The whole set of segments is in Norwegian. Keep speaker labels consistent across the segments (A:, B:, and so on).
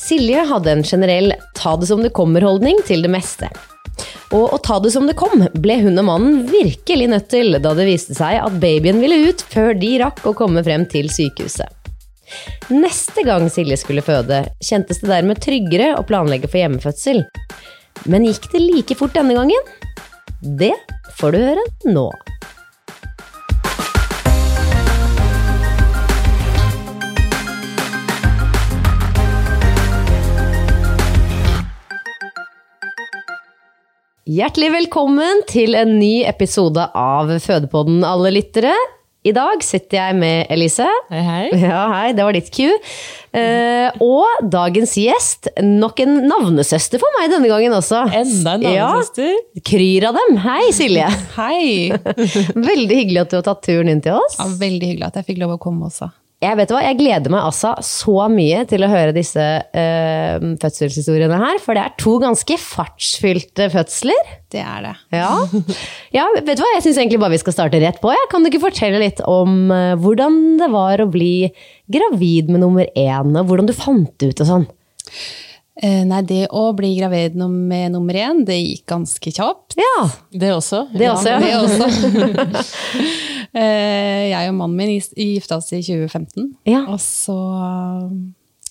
A: Silje hadde en generell ta det som det kommer-holdning til det meste. Og å ta det som det kom ble hun og mannen virkelig nødt til da det viste seg at babyen ville ut før de rakk å komme frem til sykehuset. Neste gang Silje skulle føde, kjentes det dermed tryggere å planlegge for hjemmefødsel. Men gikk det like fort denne gangen? Det får du høre nå. Hjertelig velkommen til en ny episode av Fødepodden, alle lyttere. I dag sitter jeg med Elise.
B: Hei, hei.
A: Ja, hei, det var ditt cue. Eh, og dagens gjest, nok en navnesøster for meg denne gangen også.
B: Enda en navnesøster.
A: Ja, kryr av dem. Hei, Silje.
B: Hei!
A: Veldig hyggelig at du har tatt turen inn til oss.
B: Ja, veldig hyggelig at jeg fikk lov å komme også.
A: Jeg vet du hva, jeg gleder meg altså så mye til å høre disse eh, fødselshistoriene her, for det er to ganske fartsfylte fødsler.
B: Det er det.
A: Ja. ja, vet du hva? Jeg syns egentlig bare vi skal starte rett på. Jeg. Kan du ikke fortelle litt om eh, hvordan det var å bli gravid med nummer én, og hvordan du fant det ut og sånn?
B: Eh, Nei, det å bli gravid num- med nummer én, det gikk ganske kjapt.
A: Ja,
C: Det også.
A: det også.
B: Det
A: Ja.
B: også. Eh, jeg og mannen min gis- gifta oss i 2015,
A: Ja.
B: og så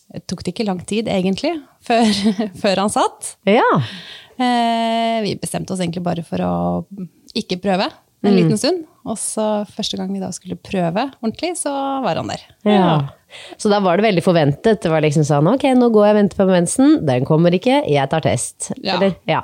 B: eh, tok det ikke lang tid, egentlig, før, før han satt.
A: ja.
B: Eh, Vi bestemte oss egentlig bare for å ikke prøve
A: Mm.
B: en liten stund. Og så første gang vi da skulle prøve ordentlig, så var han der.
A: ja. Så da var det veldig forventet. Det var liksom sånn ok, nå går jeg og venter på mensen, den kommer ikke, jeg tar test. Eller, ja.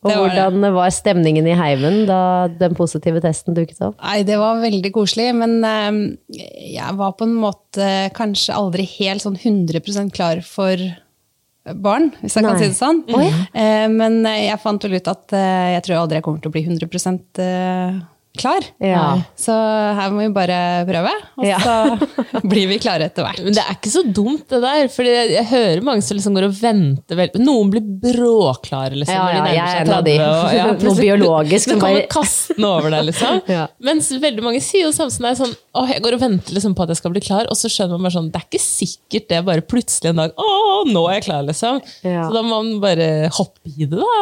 A: Og
B: Det var det.
A: hvordan var stemningen i heimen da den positive testen dukket opp?
B: Nei, det var veldig koselig, men eh, jeg var på en måte kanskje aldri helt sånn 100 klar for barn, hvis jeg
A: Nei.
B: kan si det sånn.
A: Å, ja.
B: Eh, Men jeg fant vel ut at eh, jeg tror aldri jeg kommer til å bli 100 eh, klar.
A: Ja.
B: Så her må vi bare prøve, og
A: Ja.
B: så blir vi klare etter hvert.
C: Men det er ikke så dumt, det der. For jeg, jeg hører mange som liksom går og venter vel. Noen blir bråklare, liksom.
A: Ja,
C: når de
A: ja,
C: nærmer
A: jeg er
C: seg
A: en av de.
C: 30, og- ja,
A: Noe
C: plutselig-
A: biologisk som
C: Det kommer
A: bare-
C: kastende over deg, liksom.
A: Ja.
C: Mens veldig mange sier jo samme som deg, sånn Åh, jeg går og venter liksom på at jeg skal bli klar, og så skjønner man bare sånn Det er ikke sikkert det er bare plutselig en dag Å, nå er jeg klar, liksom.
A: Ja.
C: Så da må man bare hoppe i det, da,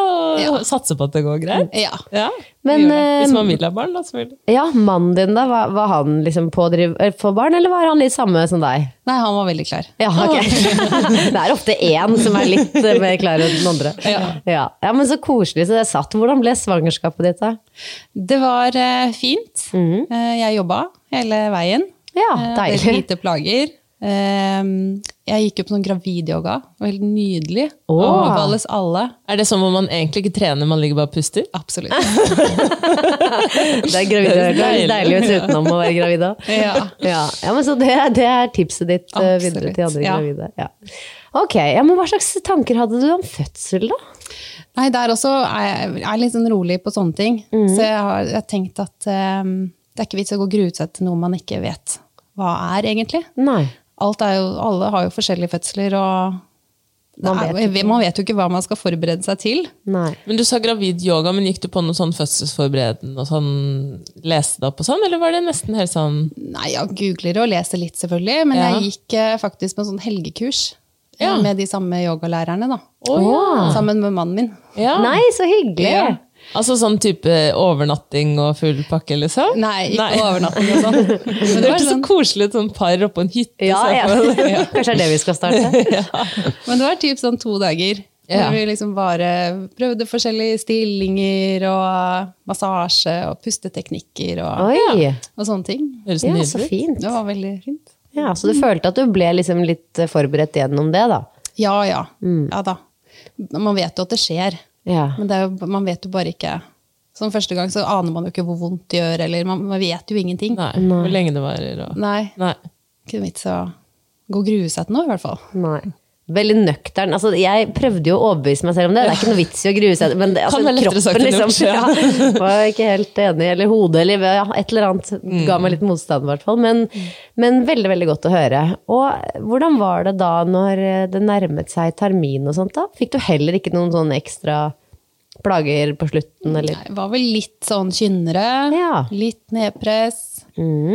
C: og satse på at det går greit.
B: Ja.
C: Ja,
A: Mm. Men,
C: gjør det.
A: eh,
C: Hvis man vil ha barn, da, selvfølgelig.
A: Ja, mannen din da, var, var han liksom pådriv eh, for barn, eller var han litt samme som deg?
B: Nei, han var veldig klar.
A: Ja, ok. det er ofte én som er litt eh, mer klar enn den andre. Ja. Ja. men så koselig så det satt. Hvordan ble svangerskapet ditt da?
B: Det var eh, fint.
A: Mhm.
B: Eh, jeg jobba hele veien.
A: Ja,
B: Eh, hadde
A: deilig.
B: Lite plager. Eh, jeg gikk jo på sånn gravidyoga. Det var Helt nydelig.
A: Åh.
B: Anbefales alle.
C: Er det sånn hvor man egentlig ikke trener, man ligger bare og puster?
B: Absolutt.
A: Det er, gravid, det
C: Det
A: er
C: er
A: deilig ut utenom å være gravid da.
B: Ja.
A: Ja. ja, men så det, det er tipset ditt eh, videre
B: Absolutt,
A: til andre
B: ja.
A: gravide. Ja. Ok, ja, men hva slags tanker hadde du om fødsel da?
B: Nei, der også er jeg jeg er litt sånn rolig på sånne ting. Så jeg har, jeg har tenkt ehm, at eh, det er ikke vits å gå og grue seg til noe man ikke vet hva er, egentlig.
A: Nei.
B: Alt er jo, alle har jo forskjellige fødsler, og det
A: Man
B: er-
A: vet ikke.
B: man vet jo ikke hva man skal forberede seg til.
A: Nei.
C: Men du sa gravid yoga, men gikk du på noe sånn fødselsforberedende og sånn, leste deg opp og sånn, eller var det nesten helt sånn
B: Nei, jeg googler og leser litt, selvfølgelig. Men
C: Ja.
B: jeg gikk eh, faktisk på en sånn helgekurs eh,
C: Ja.
B: med de samme yogalærerne. da.
C: Ah.
A: ja.
B: Sammen med mannen min.
C: ja.
A: Nei, så hyggelig!
C: Ja. Altså sånn type overnatting og full pakke, liksom?
B: Nei, ikke overnatting og sånn. Men
C: Det
B: det var
C: hørtes så
B: sånn.
C: koselig ut, sånn par oppå en hytte.
A: Ja,
C: så jeg
A: ja.
C: får-
A: Kanskje det er det vi skal starte?
B: Men det var typ sånn to dager.
C: Ja.
B: Hvor vi liksom bare prøvde forskjellige stillinger og massasje og pusteteknikker og,
A: Oi!
B: og sånne ting.
C: Høres
A: Ja, så
C: nydelig ut.
A: fint.
B: Det var veldig fint.
A: Ja, Så du følte at du ble liksom litt eh, forberedt gjennom det, da?
B: Ja, ja. Ja da. Man vet jo at det skjer.
A: Ja.
B: Men det er jo, man vet jo bare ikke Som første gang så aner man jo ikke hvor vondt det gjør, eller man, man vet jo ingenting.
C: Nei, hvor lenge det varer og
B: Nei.
C: Nei.
B: Ikke noe vits å gå og grue seg til noe, i hvert fall.
A: Nei. Veldig nøktern. Altså, jeg prøvde jo å overbevise meg selv om det. Det er ikke noe vits i å grue seg. Men det, altså,
C: Kan være lettere sagt enn gjort,
A: ja, var jeg ikke helt enig Eller hodet, eller ja, et eller annet. Ga meg litt motstand, i hvert fall. Men, men veldig, veldig godt å høre. Og hvordan var det da når eh, det nærmet seg termin og sånt, da? Fikk du heller ikke noen sånne ekstra plager på slutten, eller?
B: Jeg var vel litt sånn kynnere.
A: Ja. Mm.
B: Litt nedpress.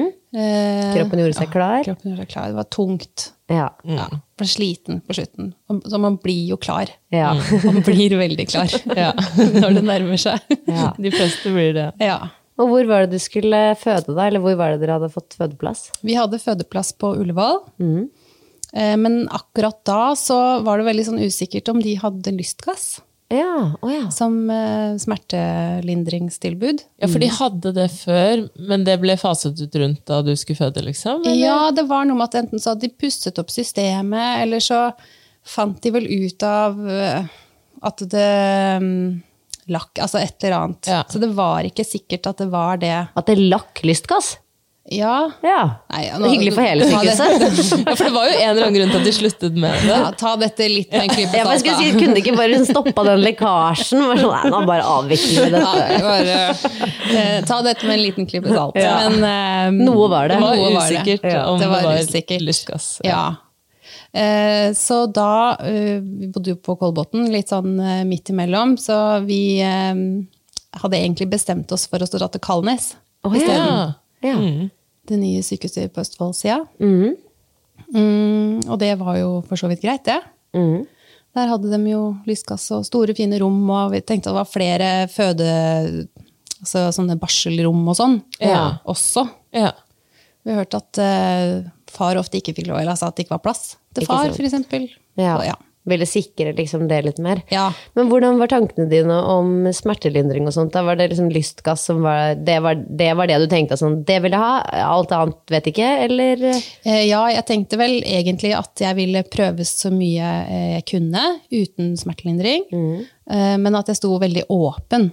B: Eh,
A: Kroppen gjorde seg klar?
B: kroppen gjorde seg klar. Det var tungt.
A: Ja.
B: Ja, ble sliten på slutten. Og- Så man blir jo klar.
A: Ja.
B: Man blir veldig klar
C: Ja.
B: når det nærmer seg.
A: ja.
C: De fleste blir det.
B: Ja.
A: Og hvor var det du skulle føde, da? Eller hvor var det dere hadde fått fødeplass?
B: Vi hadde fødeplass på Ullevål.
A: Mm.
B: Eh, Men akkurat da så var det veldig sånn usikkert om de hadde lystgass
A: Ja, å ja.
B: som eh, smertelindringstilbud.
C: Ja, for de hadde det før, men det ble faset ut rundt da du skulle føde, liksom? eller?
B: Ja, det var noe med at enten så hadde de pustet opp systemet, eller så fant de vel ut av eh, at det mm, lakk, altså et eller annet.
C: Ja.
B: Så det var ikke sikkert at det var det.
A: At det lakk lystgass?
B: Ja,
A: Ja.
B: Nei, ja,
A: Det er hyggelig for hele
B: ta det-
A: sykehuset.
C: Ja, for det var jo en eller annen grunn til at de sluttet med det.
B: Ja, ta dette litt med en klype
A: Jeg bare
B: salt.
A: skulle
B: da.
A: si, Kunne de ikke bare stoppa den lekkasjen? Bare sånn, nei, nå bare avvikler vi
B: Ja,
A: dette.
B: det var, eh, ta dette med en liten klype salt.
A: Ja.
B: Men, eh,
A: Noe var det.
C: Det var
B: Noe var det.
C: usikkert
B: Ja.
C: om
B: Det
C: det
B: var
C: var,
B: usikkert.
C: lystgass.
B: Ja. Eh, Så da eh, Vi bodde jo på Kolbotn, litt sånn eh, midt imellom, så vi eh, hadde egentlig bestemt oss for å dra til Kalnes.
A: Å, ja. Mm.
C: Ja.
A: Ja.
B: Det nye sykehuset på Østfoldsida. Mm, og det var jo for så vidt greit, det. Der hadde de jo lystgass og store, fine rom, og vi tenkte at det var flere føde... Altså sånne barselrom og sånn
C: Ja.
B: også.
C: Ja.
B: Vi hørte at eh, far ofte ikke fikk lov, eller altså at det ikke var plass til
A: Ikke
B: far,
A: sant.
B: for eksempel. Så,
A: Ja.
B: ja.
A: Ville sikre liksom det litt mer.
B: Ja.
A: Men hvordan var tankene dine om smertelindring og sånt? Da var det liksom lystgass som var det, var det var det du tenkte sånn, det vil jeg ha, alt annet vet ikke, eller
B: Eh, ja, jeg tenkte vel egentlig at jeg ville prøve så mye eh, jeg kunne uten smertelindring,
A: Mm.
B: eh, men at jeg sto veldig åpen.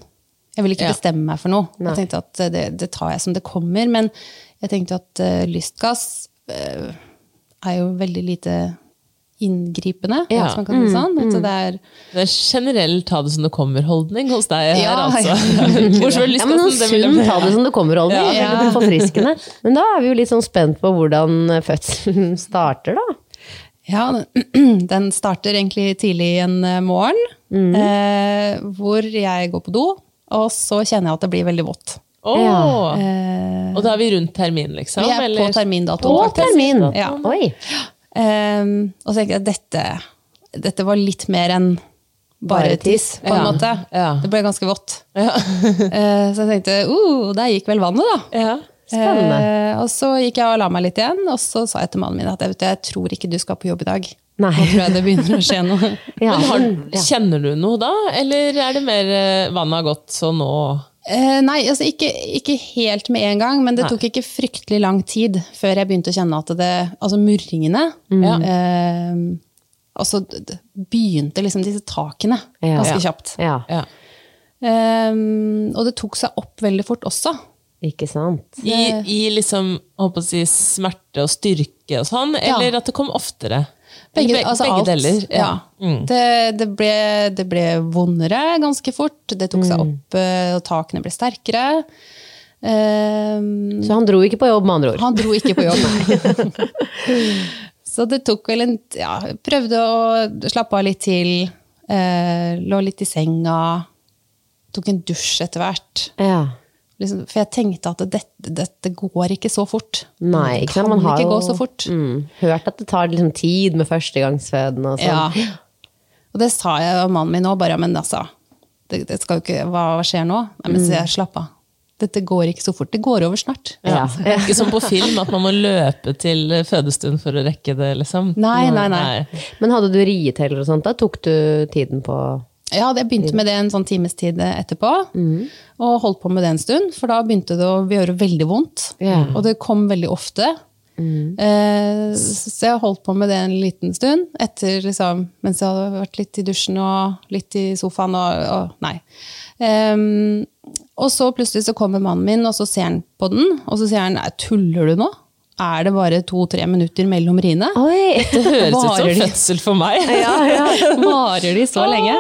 B: Jeg ville ikke
C: Ja.
B: bestemme meg for noe. Jeg tenkte at eh, det, det tar jeg som det kommer, men jeg tenkte at eh, lystgass eh, er jo veldig lite inngripende,
C: Ja.
B: hvis man kan si det
A: Mm.
B: sånn. At det er,
C: Det er generell ta det som det kommer-holdning hos deg her,
B: Ja,
C: altså.
B: ja.
C: Bortsett fra
A: Ja, men
C: lystgassen,
A: noen
C: det vil jeg
A: sunn ta det som det kommer, Olden.
C: Ja.
A: Veldig forfriskende. Men da er vi jo litt sånn spent på hvordan fødselen starter, da.
B: Ja, den- den starter egentlig tidlig en eh, morgen,
A: Mm.
B: eh, hvor jeg går på do, og så kjenner jeg at det blir veldig vått. Eh,
C: Åh.
A: Ja.
C: Og da er vi rundt termin, liksom?
B: Vi er på
C: eller?
B: termindato.
A: På
B: faktisk.
A: termin!
B: Ja.
A: Oi.
B: Eh, og så tenker jeg at dette, dette var litt mer enn bare
A: Bare
B: tiss,
A: tiss.
B: på en
C: Ja.
B: måte.
C: Ja.
B: Det ble ganske vått. Eh, så jeg tenkte, uh, der gikk vel vannet da.
C: Ja.
A: Spennende.
B: Eh, og så gikk jeg og la meg litt igjen, og så sa jeg til mannen min at jeg, vet, du, jeg tror ikke du skal på jobb i dag.
A: Nei.
B: Nå tror jeg det begynner å skje noe.
A: Ja.
C: Men har, kjenner du noe da, eller er det mer eh, vannet har gått, så nå
B: Eh, nei, altså ikke, ikke helt med en gang, men det tok ikke fryktelig lang tid før jeg begynte å kjenne at det Altså murringene.
C: Mm.
B: Eh, altså d- d- begynte liksom disse takene
A: Ja.
B: ganske kjapt.
A: Ja,
C: ja.
B: Eh, og det tok seg opp veldig fort også.
A: ikke sant.
C: I, I liksom, holdt på å si, smerte og styrke og sånn, eller at det kom oftere? Eller
B: altså
C: begge
B: alt.
C: deler.
B: Ja. Det, det, ble, det ble vondere ganske fort. Det tok seg opp, eh, og takene ble sterkere. Eh, Mm.
A: Så han dro ikke på jobb, med andre ord.
B: Han dro ikke på jobb. Så det tok vel en Ja, prøvde å slappe av litt til. Eh, lå litt i senga. Tok en dusj etter hvert.
A: Ja.
B: Liksom, for jeg tenkte at dette, dette går ikke så fort.
A: Nei,
B: det
A: ikke sant?
B: kan
A: Man har
B: ikke
A: jo
B: gå så fort.
A: Mm, hørt at det tar liksom tid med førstegangsfødende og sånn.
B: Ja. Og det sa jeg og mannen min òg, bare. Men altså, det, det skal jo ikke, hva, hva skjer nå? Nei,
A: Mm.
B: men så jeg slapp av. Dette går ikke så fort. Det går over snart.
A: Ja.
C: Det er Ikke som på film, at man må løpe til eh, fødestund for å rekke det, liksom.
B: Nei, nei, nei.
A: Men hadde du rieteller og sånt, da tok du tiden på
B: Ja, jeg begynte med det en sånn times tid etterpå. Og holdt på med det en stund, for da begynte det å gjøre veldig vondt.
A: Ja.
B: Og det kom veldig ofte. Eh, så jeg holdt på med det en liten stund, etter, liksom, mens jeg hadde vært litt i dusjen og litt i sofaen. Og, og nei. Em, og så plutselig så kommer mannen min, og så ser han på den. Og så sier han nei, 'tuller du nå?' Er det bare to-tre minutter mellom riene?
A: Oi!
C: Det høres ut
B: Varer
C: som
B: de?
C: fødsel for meg.
B: Varer de så lenge?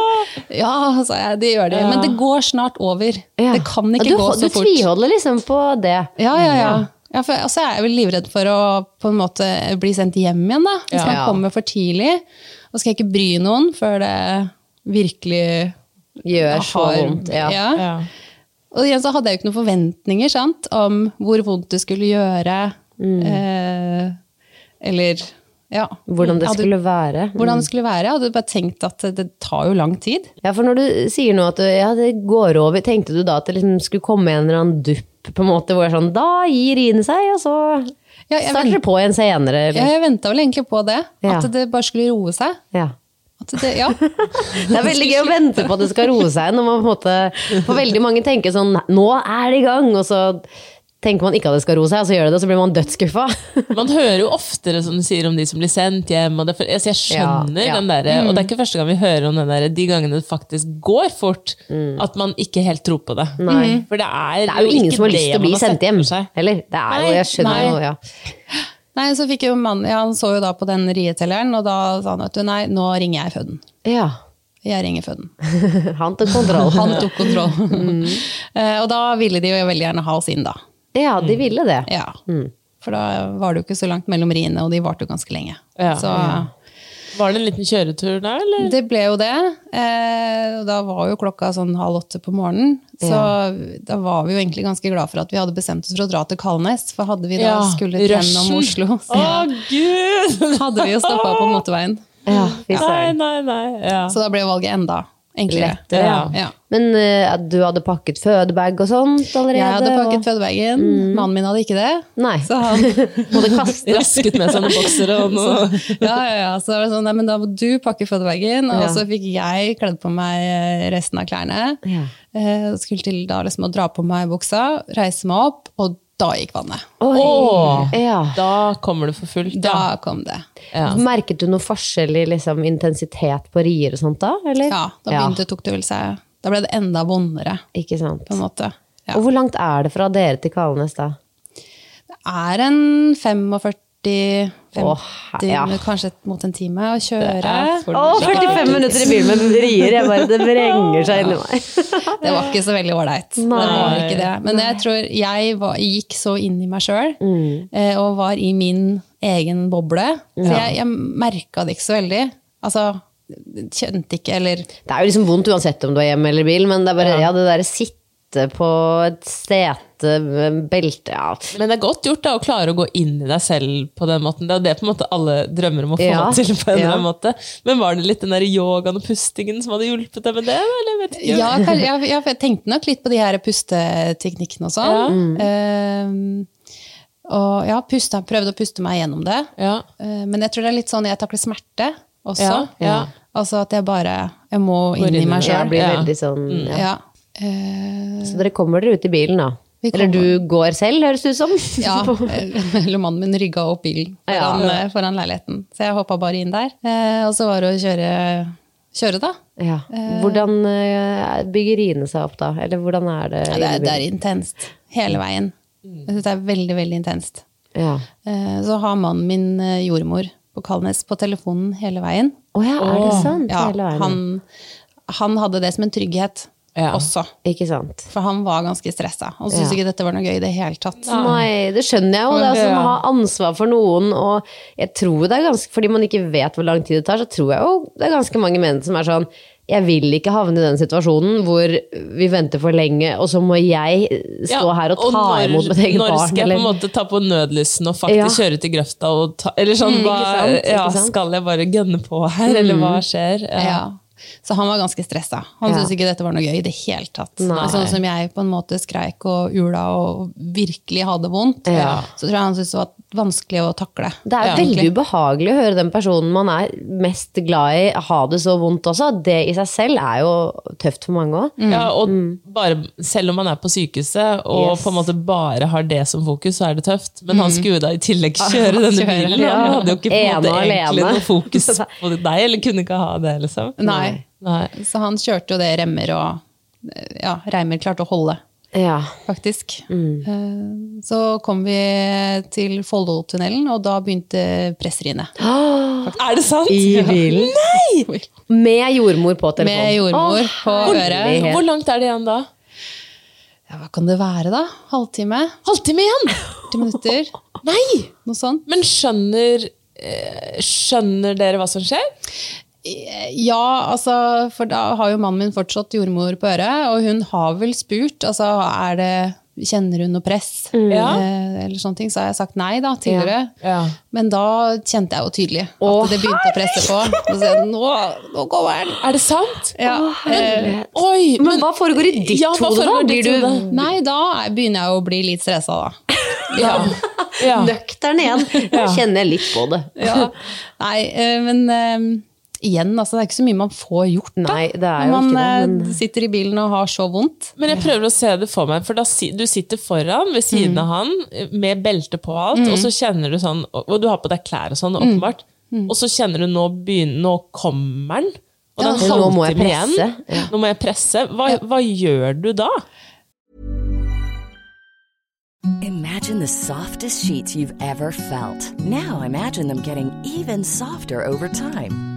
B: Ja, sa jeg, det gjør de. Men det går snart over.
A: Ja.
B: Det kan ikke
A: du,
B: gå
A: Du
B: så fort.
A: tviholder liksom på det.
B: Ja, ja, ja. ja for, og så er jeg vel livredd for å på en måte bli sendt hjem igjen, da. Hvis
A: Ja.
B: man
A: Ja.
B: kommer for tidlig. Da skal jeg ikke bry noen før det virkelig
A: Gjør så
B: har
A: vondt. Ja.
B: Ja.
C: Ja.
B: Og igjen så hadde jeg jo ikke noen forventninger sant, om hvor vondt det skulle gjøre.
A: Mm.
B: Eh, eller ja.
A: Hvordan det
B: Jeg hadde-
A: skulle Mm. være.
B: hvordan det skulle være. Jeg hadde bare tenkt at det tar jo lang tid.
A: Ja, for når du sier nå at du, ja, det går over, tenkte du da at det liksom skulle komme en eller annen dupp på en måte, hvor det er sånn, da gir Ine seg, og så
B: Ja, jeg
A: starter det
B: vent-
A: på igjen senere.
B: Ja,
A: Eller?
B: jeg venta vel egentlig på det.
A: Ja.
B: At det bare skulle roe seg.
A: Ja.
B: At det, ja.
A: Det er veldig gøy å vente på at det skal roe seg, når man på en måte, for veldig mange tenker sånn, "Nei, nå er det i gang, og så tenker man ikke at det skal roe seg, og så gjør det det, og så blir man dødsskuffa.
C: Man hører jo oftere som du sier om de som blir sendt hjem. Og det, for, altså, jeg skjønner
A: Ja, Mm. ja.
C: den der, og det er ikke første gang vi hører om den der, de gangene det faktisk går fort, at man ikke helt tror på det. Mm. For det er,
A: Mm. Det er jo ingen
C: ikke
A: som har lyst
C: det
A: til å bli
C: man
A: sendt hjem,
C: setter seg.
A: heller. Det er jo,
C: Nei,
A: jeg skjønner
C: nei.
A: jo, ja.
B: Nei, så fikk jo mannen ja, Han så jo da på den rietelleren, og da sa han at du, nei, nå ringer jeg føden.
A: Ja,
B: Jeg ringer føden.
A: han tok kontroll.
B: Han tok kontroll. Eh, og da ville de jo veldig gjerne ha oss inn, da.
A: Ja, de ville det.
B: Ja.
A: Mm.
B: For da var det jo ikke så langt mellom riene, og de varte jo ganske lenge.
C: Ja,
B: så
C: Var det en liten kjøretur da, eller?
B: det ble jo det. Eh, og da var jo klokka sånn halv åtte på morgenen. Så da var vi jo egentlig ganske glad for at vi hadde bestemt oss for å dra til Kalnes. For hadde vi da skulle gjennom Oslo,
C: Å,
B: så
C: gud!
B: hadde vi jo stoppa på motorveien.
A: Ja, fy
C: Nei,
A: søren.
C: nei, nei. Ja.
B: Så da ble valget enda enklere.
A: Lettere,
C: ja.
B: Ja.
A: Men eh, at du hadde pakket fødebag og sånt allerede?
B: Jeg hadde pakket
A: og...
B: fødebagen, mannen min hadde ikke det.
A: Nei.
B: Så han
A: Måtte kaste
C: Rasket med seg noen boksere og noe.
B: Ja, ja, ja. Så det var sånn, nei, men da må du pakke fødebagen. Og
A: Ja.
B: så fikk jeg kledd på meg eh, resten av klærne.
A: Ja.
B: Eh, skulle til da liksom å dra på meg buksa, reise meg opp, og da gikk vannet.
A: Oi!
C: Åh.
A: Ja.
C: Da kommer det for fullt,
B: Da
C: da.
B: kom det.
C: Ja.
A: Merket du noe forskjell i liksom, intensitet på rier og sånt da? Eller?
B: Ja, da begynte tok det vel seg Da ble det enda vondere,
A: Ikke sant.
B: på en måte. Ja.
A: Og hvor langt er det fra dere til Kalnes da?
B: Det er en 45 50,
A: Åh, ja.
B: minutter, kanskje mot en time å kjøre. Det,
A: Å, 45 minutter i bilen med rier! Jeg bare, det vrenger seg inni meg.
B: var ikke så veldig ålreit. Det var
C: Nei.
B: ikke det. Men jeg tror jeg var, gikk så inn i meg sjøl,
C: Mm.
B: eh, og var i min egen boble. Så jeg, jeg merka det ikke så veldig. Altså, kjente ikke, eller
A: Det er jo liksom vondt uansett om du er hjemme eller i bil, men det er bare ja, det derre sitte på et sete, eh, belte ja.
C: Men det er godt gjort da, å klare å gå inn i deg selv på den måten. Det er jo det på en måte alle drømmer om å få
A: Ja.
C: til. på en eller annen
A: Ja.
C: måte. Men var det litt den der yogaen og pustingen som hadde hjulpet deg med det? Eller jeg vet ikke.
B: Ja, kanskje, jeg, jeg, jeg tenkte nok litt på de her pusteteknikkene og sånn.
C: Mm.
B: Eh, og ja, pusta, prøvde å puste meg gjennom det.
C: Ja.
B: Eh, men jeg tror det er litt sånn jeg takler smerte også.
C: Ja, ja.
B: Altså at jeg bare jeg må inn
C: inn
B: i
C: i
B: meg
C: det.
A: Jeg
B: sjøl.
A: blir
C: Ja.
A: veldig sånn ja.
B: Ja. Eh,
A: Så dere kommer dere ut i bilen, da?
B: Vi
A: Eller
B: kommer.
A: du går selv, høres det ut som?
B: ja, Eh, eller mannen min rygga opp bilen foran, eh, foran leiligheten. Så jeg hoppa bare inn der. Eh, og så var det å kjøre, kjøre da.
A: Ja. Hvordan eh, bygger riene seg opp da? Eller hvordan er det?
B: Ja, det, er, det er intenst hele veien. Jeg synes det er veldig, veldig intenst.
A: Ja.
B: Eh, Så har mannen min eh, jordmor på Kalnes på telefonen hele veien.
A: Å ja, er det sant?
B: Ja,
A: Hele veien?
B: han, han hadde det som en trygghet.
C: Ja.
B: også.
A: Ikke sant?
B: For han var ganske stressa. Han syntes
A: Ja.
B: ikke dette var noe gøy i det hele tatt.
A: Nei, det skjønner jeg jo. Det er altså å ha ansvar for noen, og jeg tror det er ganske Fordi man ikke vet hvor lang tid det tar, så tror jeg jo det er ganske mange menn som er sånn Jeg vil ikke havne i den situasjonen hvor vi venter for lenge, og så må jeg stå
C: Ja,
A: her og ta imot mitt eget
C: når
A: barn.
C: skal jeg på en
A: eller-
C: måte ta på nødlysten og faktisk
A: Ja.
C: kjøre til grøfta og ta Eller sånn, hva,
A: sant, ikke
C: ja,
A: sant? Mm.
C: skal jeg bare gønne på her, eller hva skjer?
B: Ja. Så han var ganske stressa. Han
A: Ja.
B: syntes ikke dette var noe gøy i det hele tatt.
A: Nei.
B: Og Sånn som jeg på en måte skreik og ula og virkelig hadde vondt,
A: Ja.
B: så tror jeg han syntes det var vanskelig å takle.
A: Det er
C: Ja,
A: veldig
B: egentlig.
A: ubehagelig å høre den personen man er mest glad i, ha det så vondt også. Det i seg selv er jo tøft for mange òg.
C: Ja, og bare, selv om man er på sykehuset og
A: Mm. Yes.
C: på en måte bare har det som fokus, så er det tøft. Men han skulle jo da i tillegg kjøre denne
B: kjøre,
C: bilen. og Han hadde jo ikke på
A: Mm.
C: en
A: Ene
C: måte
A: og
C: egentlig
A: alene.
C: noe fokus på deg, eller kunne ikke ha det, liksom.
B: Nei.
C: Nei.
B: Så han kjørte jo det remmer og ja, Reimer klarte å holde,
A: Ja.
B: faktisk. Eh, Så kom vi til Follotunnelen, og da begynte presseriene.
C: Er det sant?
A: I bilen.
B: Med
A: Med jordmor på telefonen.
B: jordmor
A: Å,
B: på
A: herlighet.
B: øret.
C: Hvor langt er det igjen da?
B: Ja, hva kan det være, da? Halvtime?
C: Halvtime igjen!
B: 40 minutter?
C: Nei!
B: Noe sånt?
C: Men skjønner, eh, skjønner dere hva som skjer?
B: Ja, altså, for da har jo mannen min fortsatt jordmor på øret, og hun har vel spurt, altså, er det, kjenner hun noe press?
A: Mm.
C: Ja.
B: Eh, Eller sånne ting, så har jeg sagt nei da, tidligere.
C: Ja. Ja.
B: Men da kjente jeg jo tydelig at det begynte å presse på. Og så, sa jeg, nå, nå går den!
C: Er det sant?
B: Ja. eh,
C: Oi!
A: Men, hva foregår i ditt
C: Ja, hva
A: hode, da?
C: foregår i
A: Blir
C: ditt
A: du
C: hode?
B: nei, da er- begynner jeg jo å bli litt stressa, da.
C: Ja. Ja.
A: nøktern igjen? Nå kjenner jeg litt på det.
B: Ja. Nei, eh, men eh, igjen, altså, det er ikke så mye man får gjort, da.
A: Nei, det er jo
B: Når man
A: ikke det, men-
B: eh, sitter i bilen og har så vondt.
C: Men jeg prøver å se det for meg, for da, si- du sitter foran, ved siden
B: Mm.
C: av han, med belte på og alt, og så kjenner du sånn, og og du har på deg klær og sånn,
B: Mm.
C: åpenbart, og så kjenner du nå begynner, nå kommer den, og det er en
A: Ja, nå må jeg
C: halvtime igjen.
A: presse. Ja.
C: Nå må jeg presse. Hva, hva gjør du da?
D: Imagine the softest sheets you've ever felt. Now imagine them getting even softer over time.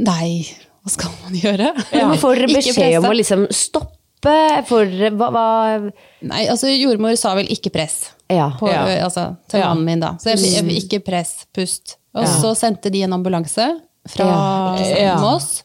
B: Nei, hva skal man gjøre?
A: Men får dere
B: Ikke
A: beskjed om
B: presse.
A: å liksom stoppe? Får dere hva, hva
B: Nei, altså jordmor sa vel ikke press
A: Ja.
B: på,
C: Ja.
B: ø, Altså, til
C: Ja. Mm.
B: mannen min, da. Så jeg, jeg, ikke press, pust. Og så sendte de en ambulanse fra
A: Ja,
C: ja.
B: Moss,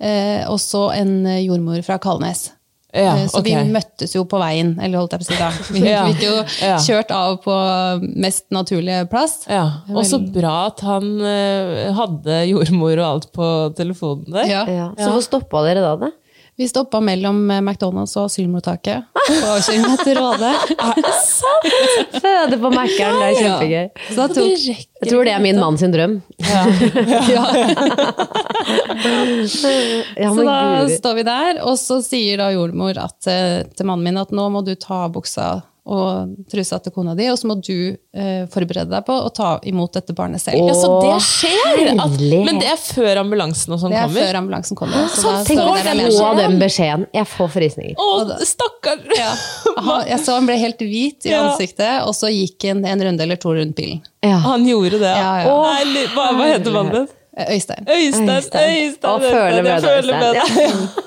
B: eh, og så en eh, jordmor fra Kalnes.
C: Ja,
B: Eh, Så
C: ok.
B: vi møttes jo på veien, eller holdt jeg på å si da. Vi
C: Ja.
B: fikk jo
C: Ja.
B: kjørt av på mest naturlige plass.
C: Ja, og så bra at han eh, hadde jordmor og alt på telefonen der.
B: Ja.
A: ja. Så hvor stoppa dere da det?
B: Vi stoppa mellom eh, McDonald's og asylmottaket. På avkjøringen til Råde.
A: Føde på Mækkern, det er kjempegøy.
B: Så da tok
A: Jeg tror det er min mann sin drøm. Ja,
B: Så
A: men
B: da
A: guri.
B: står vi der, og så sier da jordmor at, eh, til mannen min at nå må du ta av buksa og trusa til kona di, og så må du eh, forberede deg på å ta imot dette barnet selv.
C: Ja, så det skjer! At,
A: herlighet.
C: men det er før ambulansen og sånn
B: det er
C: kommer?
B: før ambulansen kommer. Så da
A: Tenk
B: står
A: å
B: vi der
A: få
B: alene.
A: den beskjeden. Jeg får frysninger.
C: Å, stakkar!
B: Ja. Han- Jeg så han ble helt hvit i
C: Ja.
B: ansiktet, og så gikk han en runde eller to rundt bilen.
A: Ja.
C: Han gjorde det.
B: Ja, ja.
C: Å, Nei, li- hva, hva heter mannen din?
B: Eh, Øystein.
C: Øystein, Øystein, Øystein.
A: Å, føler med
C: jeg
A: deg,
C: føler med
A: Øystein.
C: deg.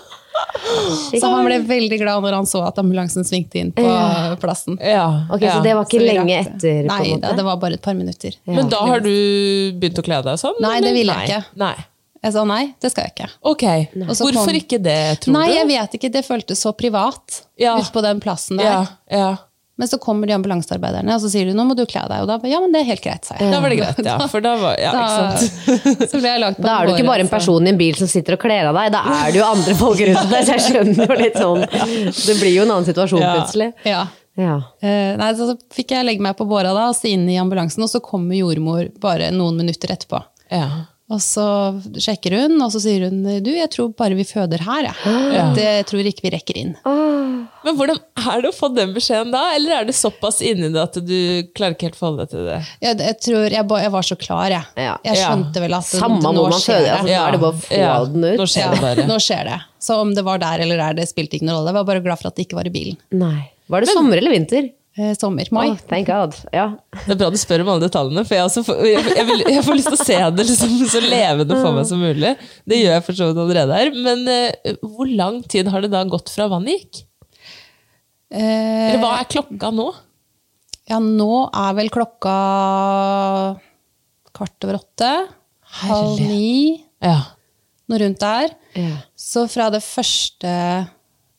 B: Så han ble veldig glad når han så at ambulansen svingte inn på
A: Ja.
B: plassen.
C: Ja,
A: Ok,
C: ja.
A: Så det var
B: Så
A: ikke
B: vi
A: lenge
B: rakk det.
A: etter? på en
B: Nei,
A: måte?
B: det var bare et par minutter.
C: Men da har du begynt å kle deg sånn?
B: Nei, det
C: eller?
B: ville jeg
C: Nei.
B: ikke.
C: Nei.
B: Jeg sa nei, det skal jeg ikke.
C: Ok,
B: Og så
C: Hvorfor
B: kom-
C: ikke det, tror
B: nei,
C: du?
B: jeg vet ikke. Det føltes så privat
C: Ja.
B: ute på den plassen der.
C: ja, ja.
B: Men så kommer de ambulansearbeiderne og så sier de, nå må du kle deg. Og da ba- ja, men det er helt greit, sa jeg.
C: Da var det greit, ja. For da var ja,
B: Da-
C: ikke sant?
B: så ble jeg lagt på
A: Da er du ikke
B: håret, altså.
A: bare en
B: så-
A: person i en bil som sitter og kler av deg, da er det jo andre folk rundt deg, så jeg skjønner jo litt sånn Det blir jo en annen situasjon
C: Ja.
A: plutselig.
B: Ja.
A: Ja.
B: Eh, nei, så, så fikk jeg legge meg på båra da, og så inn i ambulansen, og så kommer jordmor bare noen minutter etterpå.
C: Ja.
B: Og så sjekker hun, og så sier hun du, jeg tror bare vi føder her, jeg. Det jeg tror ikke vi rekker inn.
C: Men hvordan er det å få den beskjeden da? Eller er det såpass inni deg at du klarer ikke helt forholde deg til det?
B: Jeg, jeg tror jeg, ba, jeg var så klar, jeg.
A: Ja.
B: Jeg
C: Ja.
B: skjønte vel at
A: Samme
B: nå
A: hvor man
B: skjer
A: føder, altså,
B: det.
A: nå er det bare å få den ut.
C: Nå skjer det
B: Ja,
C: bare.
B: nå skjer det. Så om det var der eller der, det spilte ikke noen rolle. Jeg var bare glad for at det ikke var i bilen.
A: Nei. Var det sommer eller vinter?
B: Eh, sommer, mai.
A: Åh, thank God. Ja.
C: Det er bra du spør om alle detaljene, for jeg, også får, jeg, jeg, vil, jeg får lyst til å se det liksom, så levende for meg som mulig. Det gjør jeg for så vidt allerede her. Men eh, hvor lang tid har det da gått fra vannet gikk?
B: Eh,
C: Eller hva er klokka nå?
B: Ja, nå er vel klokka kvart over åtte. Halv
C: Herlighet.
B: ni,
C: Ja.
B: noe rundt der.
A: Ja.
B: Så fra det første,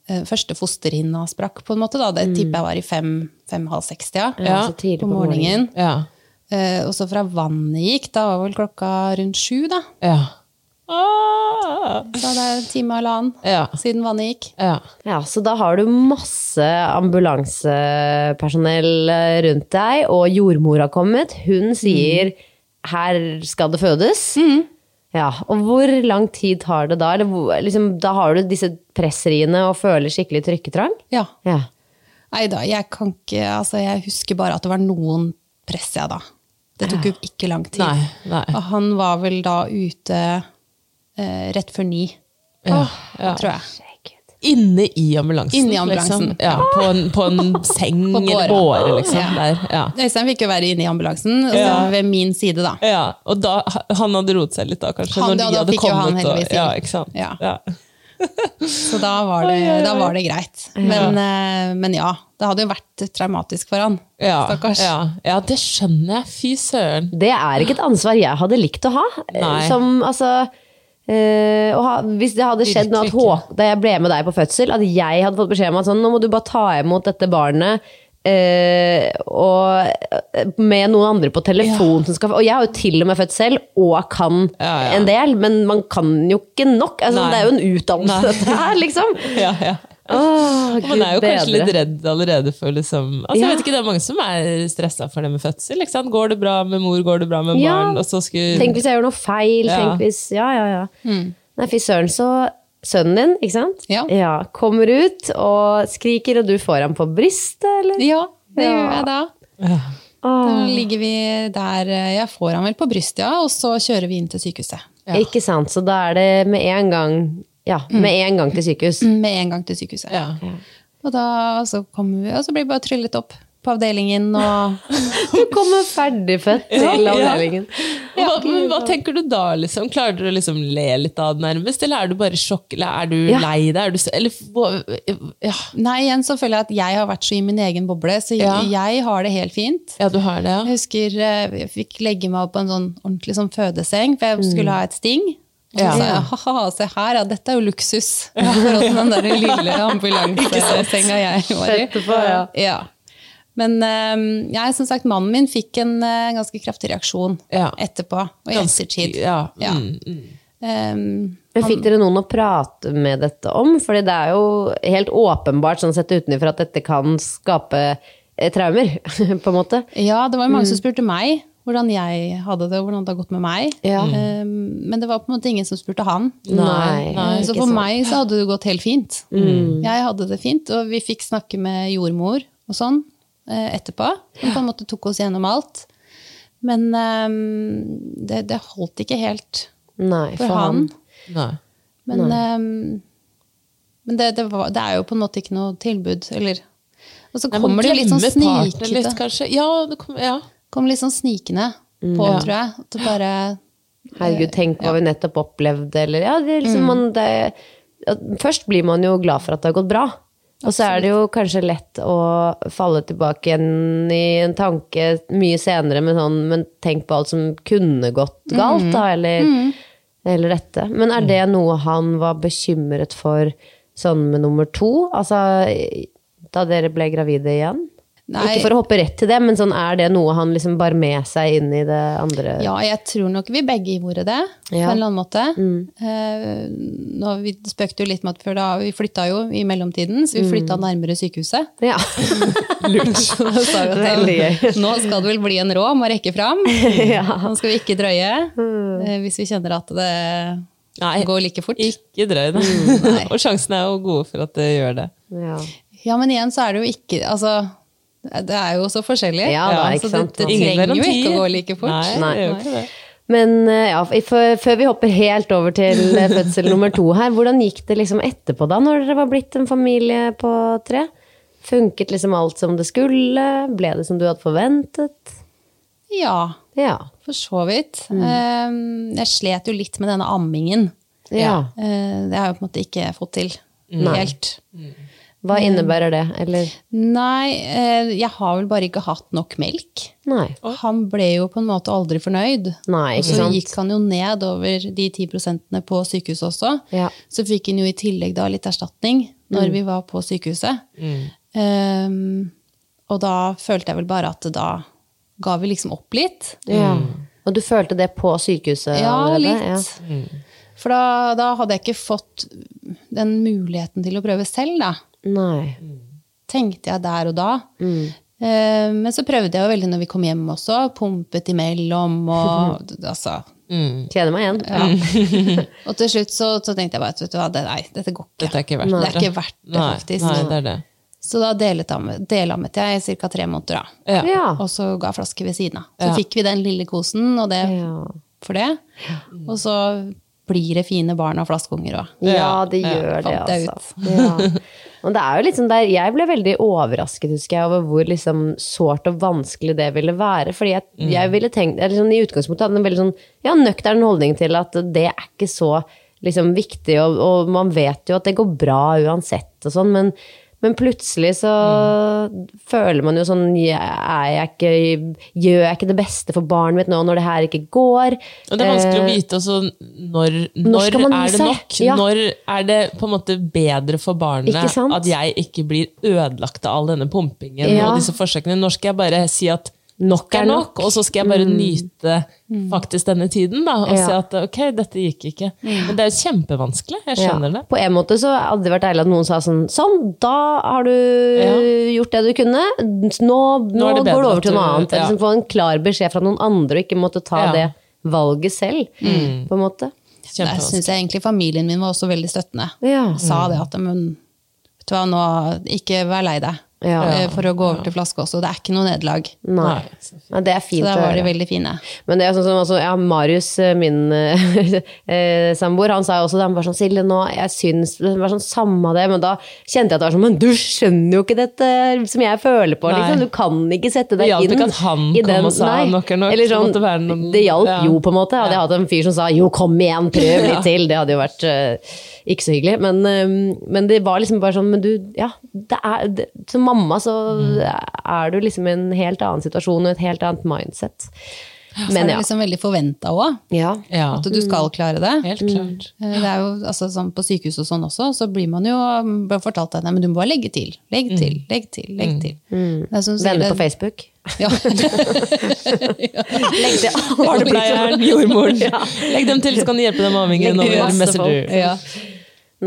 B: eh, første fosterhinna sprakk, på en måte, da, det tipper jeg var i fem-halv seks-tida
C: Ja,
A: så tidlig
B: på
A: på morgenen.
B: morgenen.
C: Ja.
B: Eh, og så fra vannet gikk, da var vel klokka rundt sju, da.
C: Ja. Ah.
B: Så det er en time og halvannen
C: Ja.
B: siden vannet gikk.
C: ja.
A: Ja, så da har du masse ambulansepersonell eh, rundt deg, og jordmor har kommet. Hun sier 'her skal det fødes'. Ja, og hvor lang tid tar det da? Eller hvor- liksom, da har du disse presseriene og føler skikkelig trykketrang?
B: Ja.
A: Ja.
B: Nei da, jeg kan ikke Altså, jeg husker bare at det var noen press, jeg, da. Det tok jo ikke lang tid.
C: Nei, nei.
B: Og han var vel da ute eh, rett før ni, tror jeg.
C: Inne i ambulansen.
B: Inne i ambulansen.
C: Liksom. Ja, på, en, på en seng
B: På
C: eller
B: båre.
C: båre, liksom.
B: Ja.
C: Der. Ja.
B: Øystein fikk jo være inne i ambulansen, og så
C: Ja.
B: ved min side, da.
C: Ja, og da, han hadde roet seg litt da, kanskje?
B: Han-
C: når de
B: ja, da
C: hadde
B: fikk jo han
C: kommet og-
B: heldigvis hjelp.
C: Ja, ikke sant?
B: Ja.
C: Ja.
B: Så da var det, da var det greit. Men, eh, men ja, det hadde jo vært traumatisk for han.
C: Ja,
B: Stakkars.
C: Ja, ja, det skjønner jeg. Fy søren.
A: Det er ikke et ansvar jeg hadde likt å ha. eh,
C: Nei.
A: Som, altså, eh, å ha hvis det hadde skjedd nå at
C: Virkelig
A: Hå- da jeg ble med deg på fødsel, at jeg hadde fått beskjed om at sånn, nå må du bare ta imot dette barnet. eh, og eh, med noen andre på telefon som skal Og jeg har jo til og med født selv, og kan
C: Ja, ja.
A: en del, men man kan jo ikke nok. Altså,
C: Nei.
A: det er jo en utdannelse,
C: Nei.
A: dette her, liksom.
C: Ja, ja.
A: Åh,
C: Og man er jo
A: Gud
C: kanskje
A: bedre.
C: litt redd allerede for liksom altså,
A: Ja.
C: jeg vet ikke, Det er mange som er stressa for det med fødsel. Ikke sant? Går det bra med mor, går det bra med
A: Ja.
C: barn? Og så skulle
A: Tenk hvis jeg gjør noe feil.
C: Mm. Ja.
A: Tenk hvis Ja, ja, ja. Nei, fy søren, så sønnen din, ikke sant?
B: Ja.
A: Kommer ut og skriker, og du får ham på brystet, eller?
B: Ja, det
A: Ja.
B: gjør jeg da. Da ligger vi der eh, Jeg får han vel på brystet, ja, og så kjører vi inn til sykehuset.
A: Ikke sant? Så da er det med en gang Ja, med en gang til sykehus.
B: Med en gang til sykehuset.
C: ja.
B: Og da så kommer vi, og så blir vi bare tryllet opp på avdelingen. Og
A: Du kommer ferdigfødt til
C: ja.
A: avdelingen.
C: Og Hva, men hva tenker du da? liksom? Klarer du å liksom le litt av det nærmest, eller er du bare i sjokk? Eller er du
A: Ja.
C: lei deg? Er du, så- eller, hva- ja.
B: nei, igjen så føler jeg at jeg har vært så i min egen boble, så
C: Ja.
B: jeg har det helt fint.
C: ja, du har det, ja?
B: Jeg husker eh, jeg fikk legge meg opp på en sånn ordentlig sånn fødeseng, for jeg skulle ha et sting. Og så
C: Mm. Ja.
B: sa jeg, haha, se her, ja, dette er jo luksus. I forhold til den der lille ambulansesenga jeg var i.
A: Etterpå, ja.
B: Ja. Men eh, jeg, som sagt, mannen min fikk en eh, ganske kraftig reaksjon
C: Ja.
B: etterpå, og i ettertid.
C: Ja.
B: Ja.
C: Mm.
B: Eh,
A: Men fikk dere noen å prate med dette om? Fordi det er jo helt åpenbart, sånn sett utenfra, at dette kan skape eh, traumer, på en måte.
B: Ja, det var jo mange
C: Mm.
B: som spurte meg hvordan jeg hadde det, og hvordan det har gått med meg.
A: Ja.
B: Eh, Men det var på en måte ingen som spurte han.
A: Nei, Mm.
B: Eh, så
A: ikke
B: for
A: sant.
B: meg så hadde det gått helt fint.
C: Mm.
B: Jeg hadde det fint, og vi fikk snakke med jordmor og sånn eh, etterpå. Hun på en måte tok oss gjennom alt. Men eh, det, det holdt ikke helt
A: Nei,
B: for han.
C: Nei.
B: Men, eh, men det, det, var, det er jo på en måte ikke noe tilbud, eller Og så
C: Nei, man
B: kommer det jo litt sånn
C: glemmer partner
B: snikete
C: litt, kanskje. Ja, det kom, ja.
B: kom litt sånn snikende på, tror jeg. At det bare
A: Herregud,
B: Eh,
A: tenk hva vi nettopp opplevde, eller ja, det er
B: Mm.
A: liksom man det, at Først blir man jo glad for at det har gått bra. Og så er det jo kanskje lett å falle tilbake igjen i en
B: Mm.
A: tanke mye senere med sånn Men tenk på alt som kunne gått galt, da, eller Eller dette. Men er det noe han var bekymret for sånn med nummer to? Altså da dere ble gravide igjen?
B: Nei.
A: Ikke for å hoppe rett til det, men sånn, er det noe han liksom bar med seg inn i det andre?
B: Ja, jeg tror nok vi begge gjorde det,
A: Ja. Mm.
B: på en eller annen måte. Eh, nå, vi spøkte jo litt med at før da, vi flytta jo i mellomtiden,
A: Mm.
B: så vi flytta nærmere sykehuset.
A: Ja.
B: Så da sa vi at
A: Veldig gøy.
B: nå skal det vel bli en rå, må rekke fram. Nå skal vi ikke drøye,
A: Mm.
B: eh, hvis vi kjenner at det
C: Nei.
B: går like fort.
C: Ikke drøy det.
B: nei.
C: og sjansene er jo gode for at det gjør det.
A: ja.
B: Ja, men igjen så er det jo ikke Altså, det er jo så forskjellig.
A: Ja da, ikke
B: så
A: sant?
B: det, det
C: Ingen
B: trenger jo
C: garanti.
B: ikke å gå like fort.
C: Nei,
A: Nei.
C: det gjør ikke det.
A: Men eh, ja, f- før før vi hopper helt over til eh, fødsel nummer to her, hvordan gikk det liksom etterpå da, når dere var blitt en familie på tre? Funket liksom alt som det skulle? Ble det som du hadde forventet?
B: Ja,
A: Ja.
B: for så vidt.
A: Mm.
B: Eh, Jeg slet jo litt med denne ammingen.
A: ja.
B: Eh, Det har jeg på en måte ikke fått til helt.
A: Hva
B: Mm.
A: innebærer det, eller?
B: Nei, eh, jeg har vel bare ikke hatt nok melk.
A: Nei.
B: Han ble jo på en måte aldri fornøyd.
A: Nei,
B: Og
A: ikke
B: så
A: sant?
B: Altså, gikk han jo ned over de 10 på sykehuset også.
A: Ja. Mm.
B: Så fikk han jo i tillegg da litt erstatning når vi var på sykehuset. Ehm, og da følte jeg vel bare at da ga vi liksom opp litt.
A: Ja. Og du følte det på sykehuset
B: Mm. Ja,
A: allerede? Mm.
B: litt. For da, da hadde jeg ikke fått den muligheten til å prøve selv, da.
A: Nei.
B: Mm. tenkte jeg der og da.
C: Mm.
B: Eh, Men så prøvde jeg jo veldig når vi kom hjem også. Pumpet imellom og altså.
A: Kjenner meg igjen.
B: Og til slutt så, så tenkte jeg bare at vet du hva, det, nei, dette går ikke.
C: Dette er ikke verdt
B: det.
C: det.
B: er ikke verdt det,
C: Nei,
B: faktisk. sånn.
C: nei, det er det.
B: Så da delet am- delammet jeg i ca. tre måneder, da.
C: Ja.
A: Ja.
B: Og så ga jeg flaske ved siden av. Så
C: Ja.
B: fikk vi den lille kosen og det
A: Ja.
B: for det. Og så blir det fine barn av flaskeunger òg.
A: Ja, det gjør det,
B: fant jeg
A: altså. Ja. Og det er jo litt sånn der, jeg ble veldig overrasket, husker jeg, over hvor liksom sårt og vanskelig det ville være. Fordi jeg, jeg ville tenkt, jeg liksom, i utgangspunktet hadde en veldig sånn, ja, nøktern holdning til at det er ikke så liksom, viktig, og, og man vet jo at det går bra uansett og sånn, men, men plutselig så føler man jo sånn, jeg er jeg ikke, gjør jeg ikke det beste for barnet mitt nå når det her ikke går?
C: Og det er vanskelig å vite også når, når,
A: skal man gi
C: er det
A: seg?
C: nok?
A: Ja.
C: Når er det på en måte bedre for barnet
A: Ikke sant?
C: at jeg ikke blir ødelagt av all denne pumpingen
A: Ja.
C: og disse forsøkene? Når skal jeg bare si at nok er nok, og så skal jeg bare nyte faktisk denne tiden, da, og
A: Ja.
C: se at ok, dette gikk ikke. Men det er jo kjempevanskelig, jeg skjønner
A: ja.
C: det.
A: På en måte så hadde det vært deilig at noen sa sånn Sånn, da har du gjort det du kunne. Nå, nå,
C: er
A: går
C: det bedre
A: det
C: at
A: over til noe
C: du-
A: annet.
C: ja.
A: Liksom få en klar beskjed fra noen andre og ikke måtte ta
C: Ja. Mm.
A: det valget selv. På en måte.
B: Der syns
C: Kjempevanskelig.
B: jeg egentlig familien min var også veldig støttende.
A: Ja.
B: sa det at men, vet du hva, nå, ikke vær lei deg
A: Ja.
B: eh, for å gå over til flaske også. Det er ikke noe nederlag.
A: Nei.
C: så
A: Ja, det er
B: Så
A: fint å
B: der var de
A: høre.
B: veldig fine.
A: Men det er sånn som altså, ja, Marius, eh, min eh, eh, samboer, han sa jo også det. Han var sånn Silje, nå jeg syns det var sånn samme av det, men da kjente jeg at det var sånn Men du skjønner jo ikke dette som jeg føler på,
C: Nei.
A: liksom. Du kan ikke sette
C: Det
A: deg
C: hjalp
A: inn
C: ikke at han
A: i
C: kom
A: den
C: og sa nok er nok,
A: Eller
C: det
A: sånn,
C: måtte være noen-
A: det hjalp
C: ja.
A: jo, på en måte. Hadde jeg hatt en fyr som sa jo, kom igjen, prøv litt til, det hadde jo vært eh, ikke så hyggelig. Men, eh, men det var liksom bare sånn, men du, ja. Det er, det, som mamma så
C: Mm.
A: er du liksom i en helt annen situasjon og et helt annet mindset.
B: Så er
A: Men
B: det
A: ja. Mm.
B: liksom veldig forventa òg,
A: Ja.
C: Ja,
B: at du skal klare det.
C: helt klart.
B: Eh, Det er jo, altså, sånn på sykehus og sånn også, så blir man jo mm, bare fortalt at nei, men du må bare legge til, legge til, legge til. legge til. Det er som sier
A: Venner Mm. på
B: det-
A: Facebook.
B: Ja.
A: Legg til alle
C: Barnepleieren, jordmoren. Legg dem til, så kan de hjelpe dem med ammingen
A: Legg
C: over
A: masse
C: Messenger.
A: folk.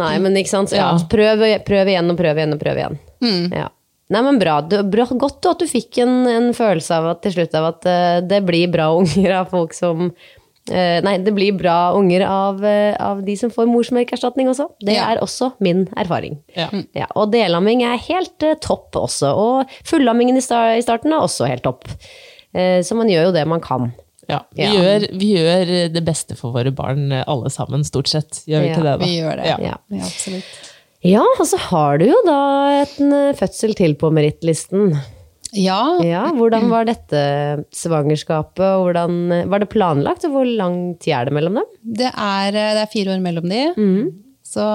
A: Nei, men ikke sant. Så, ja.
C: Ja.
A: prøv, prøv igjen og prøv igjen og prøv igjen.
B: Mm.
A: Ja. Nei, men bra. Du, bra. Godt at du fikk en, en følelse av at, til slutt av at eh, det blir bra unger av folk som eh, Nei, det blir bra unger av, eh, av de som får morsmelkerstatning også. Det
B: Ja. Mm.
A: er også min erfaring.
C: Ja.
A: Ja, og delamming er helt eh, topp også. Og fullammingen i, sta- i starten er også helt topp. Eh, så man gjør jo det man kan.
C: Ja, vi,
A: Ja.
C: Gjør, vi gjør det beste for våre barn, eh, alle sammen, stort sett. Gjør
A: Ja,
C: vi ikke det, da?
B: Vi gjør det.
C: Ja.
A: Ja.
B: Ja, absolutt.
A: Ja, og så har du jo da en eh, fødsel til på merittlisten.
B: Ja,
A: Ja, hvordan var dette svangerskapet? og Hvordan, eh, var det planlagt, og hvor lang tid er det mellom dem?
B: Det er, eh, det er fire år mellom de. Så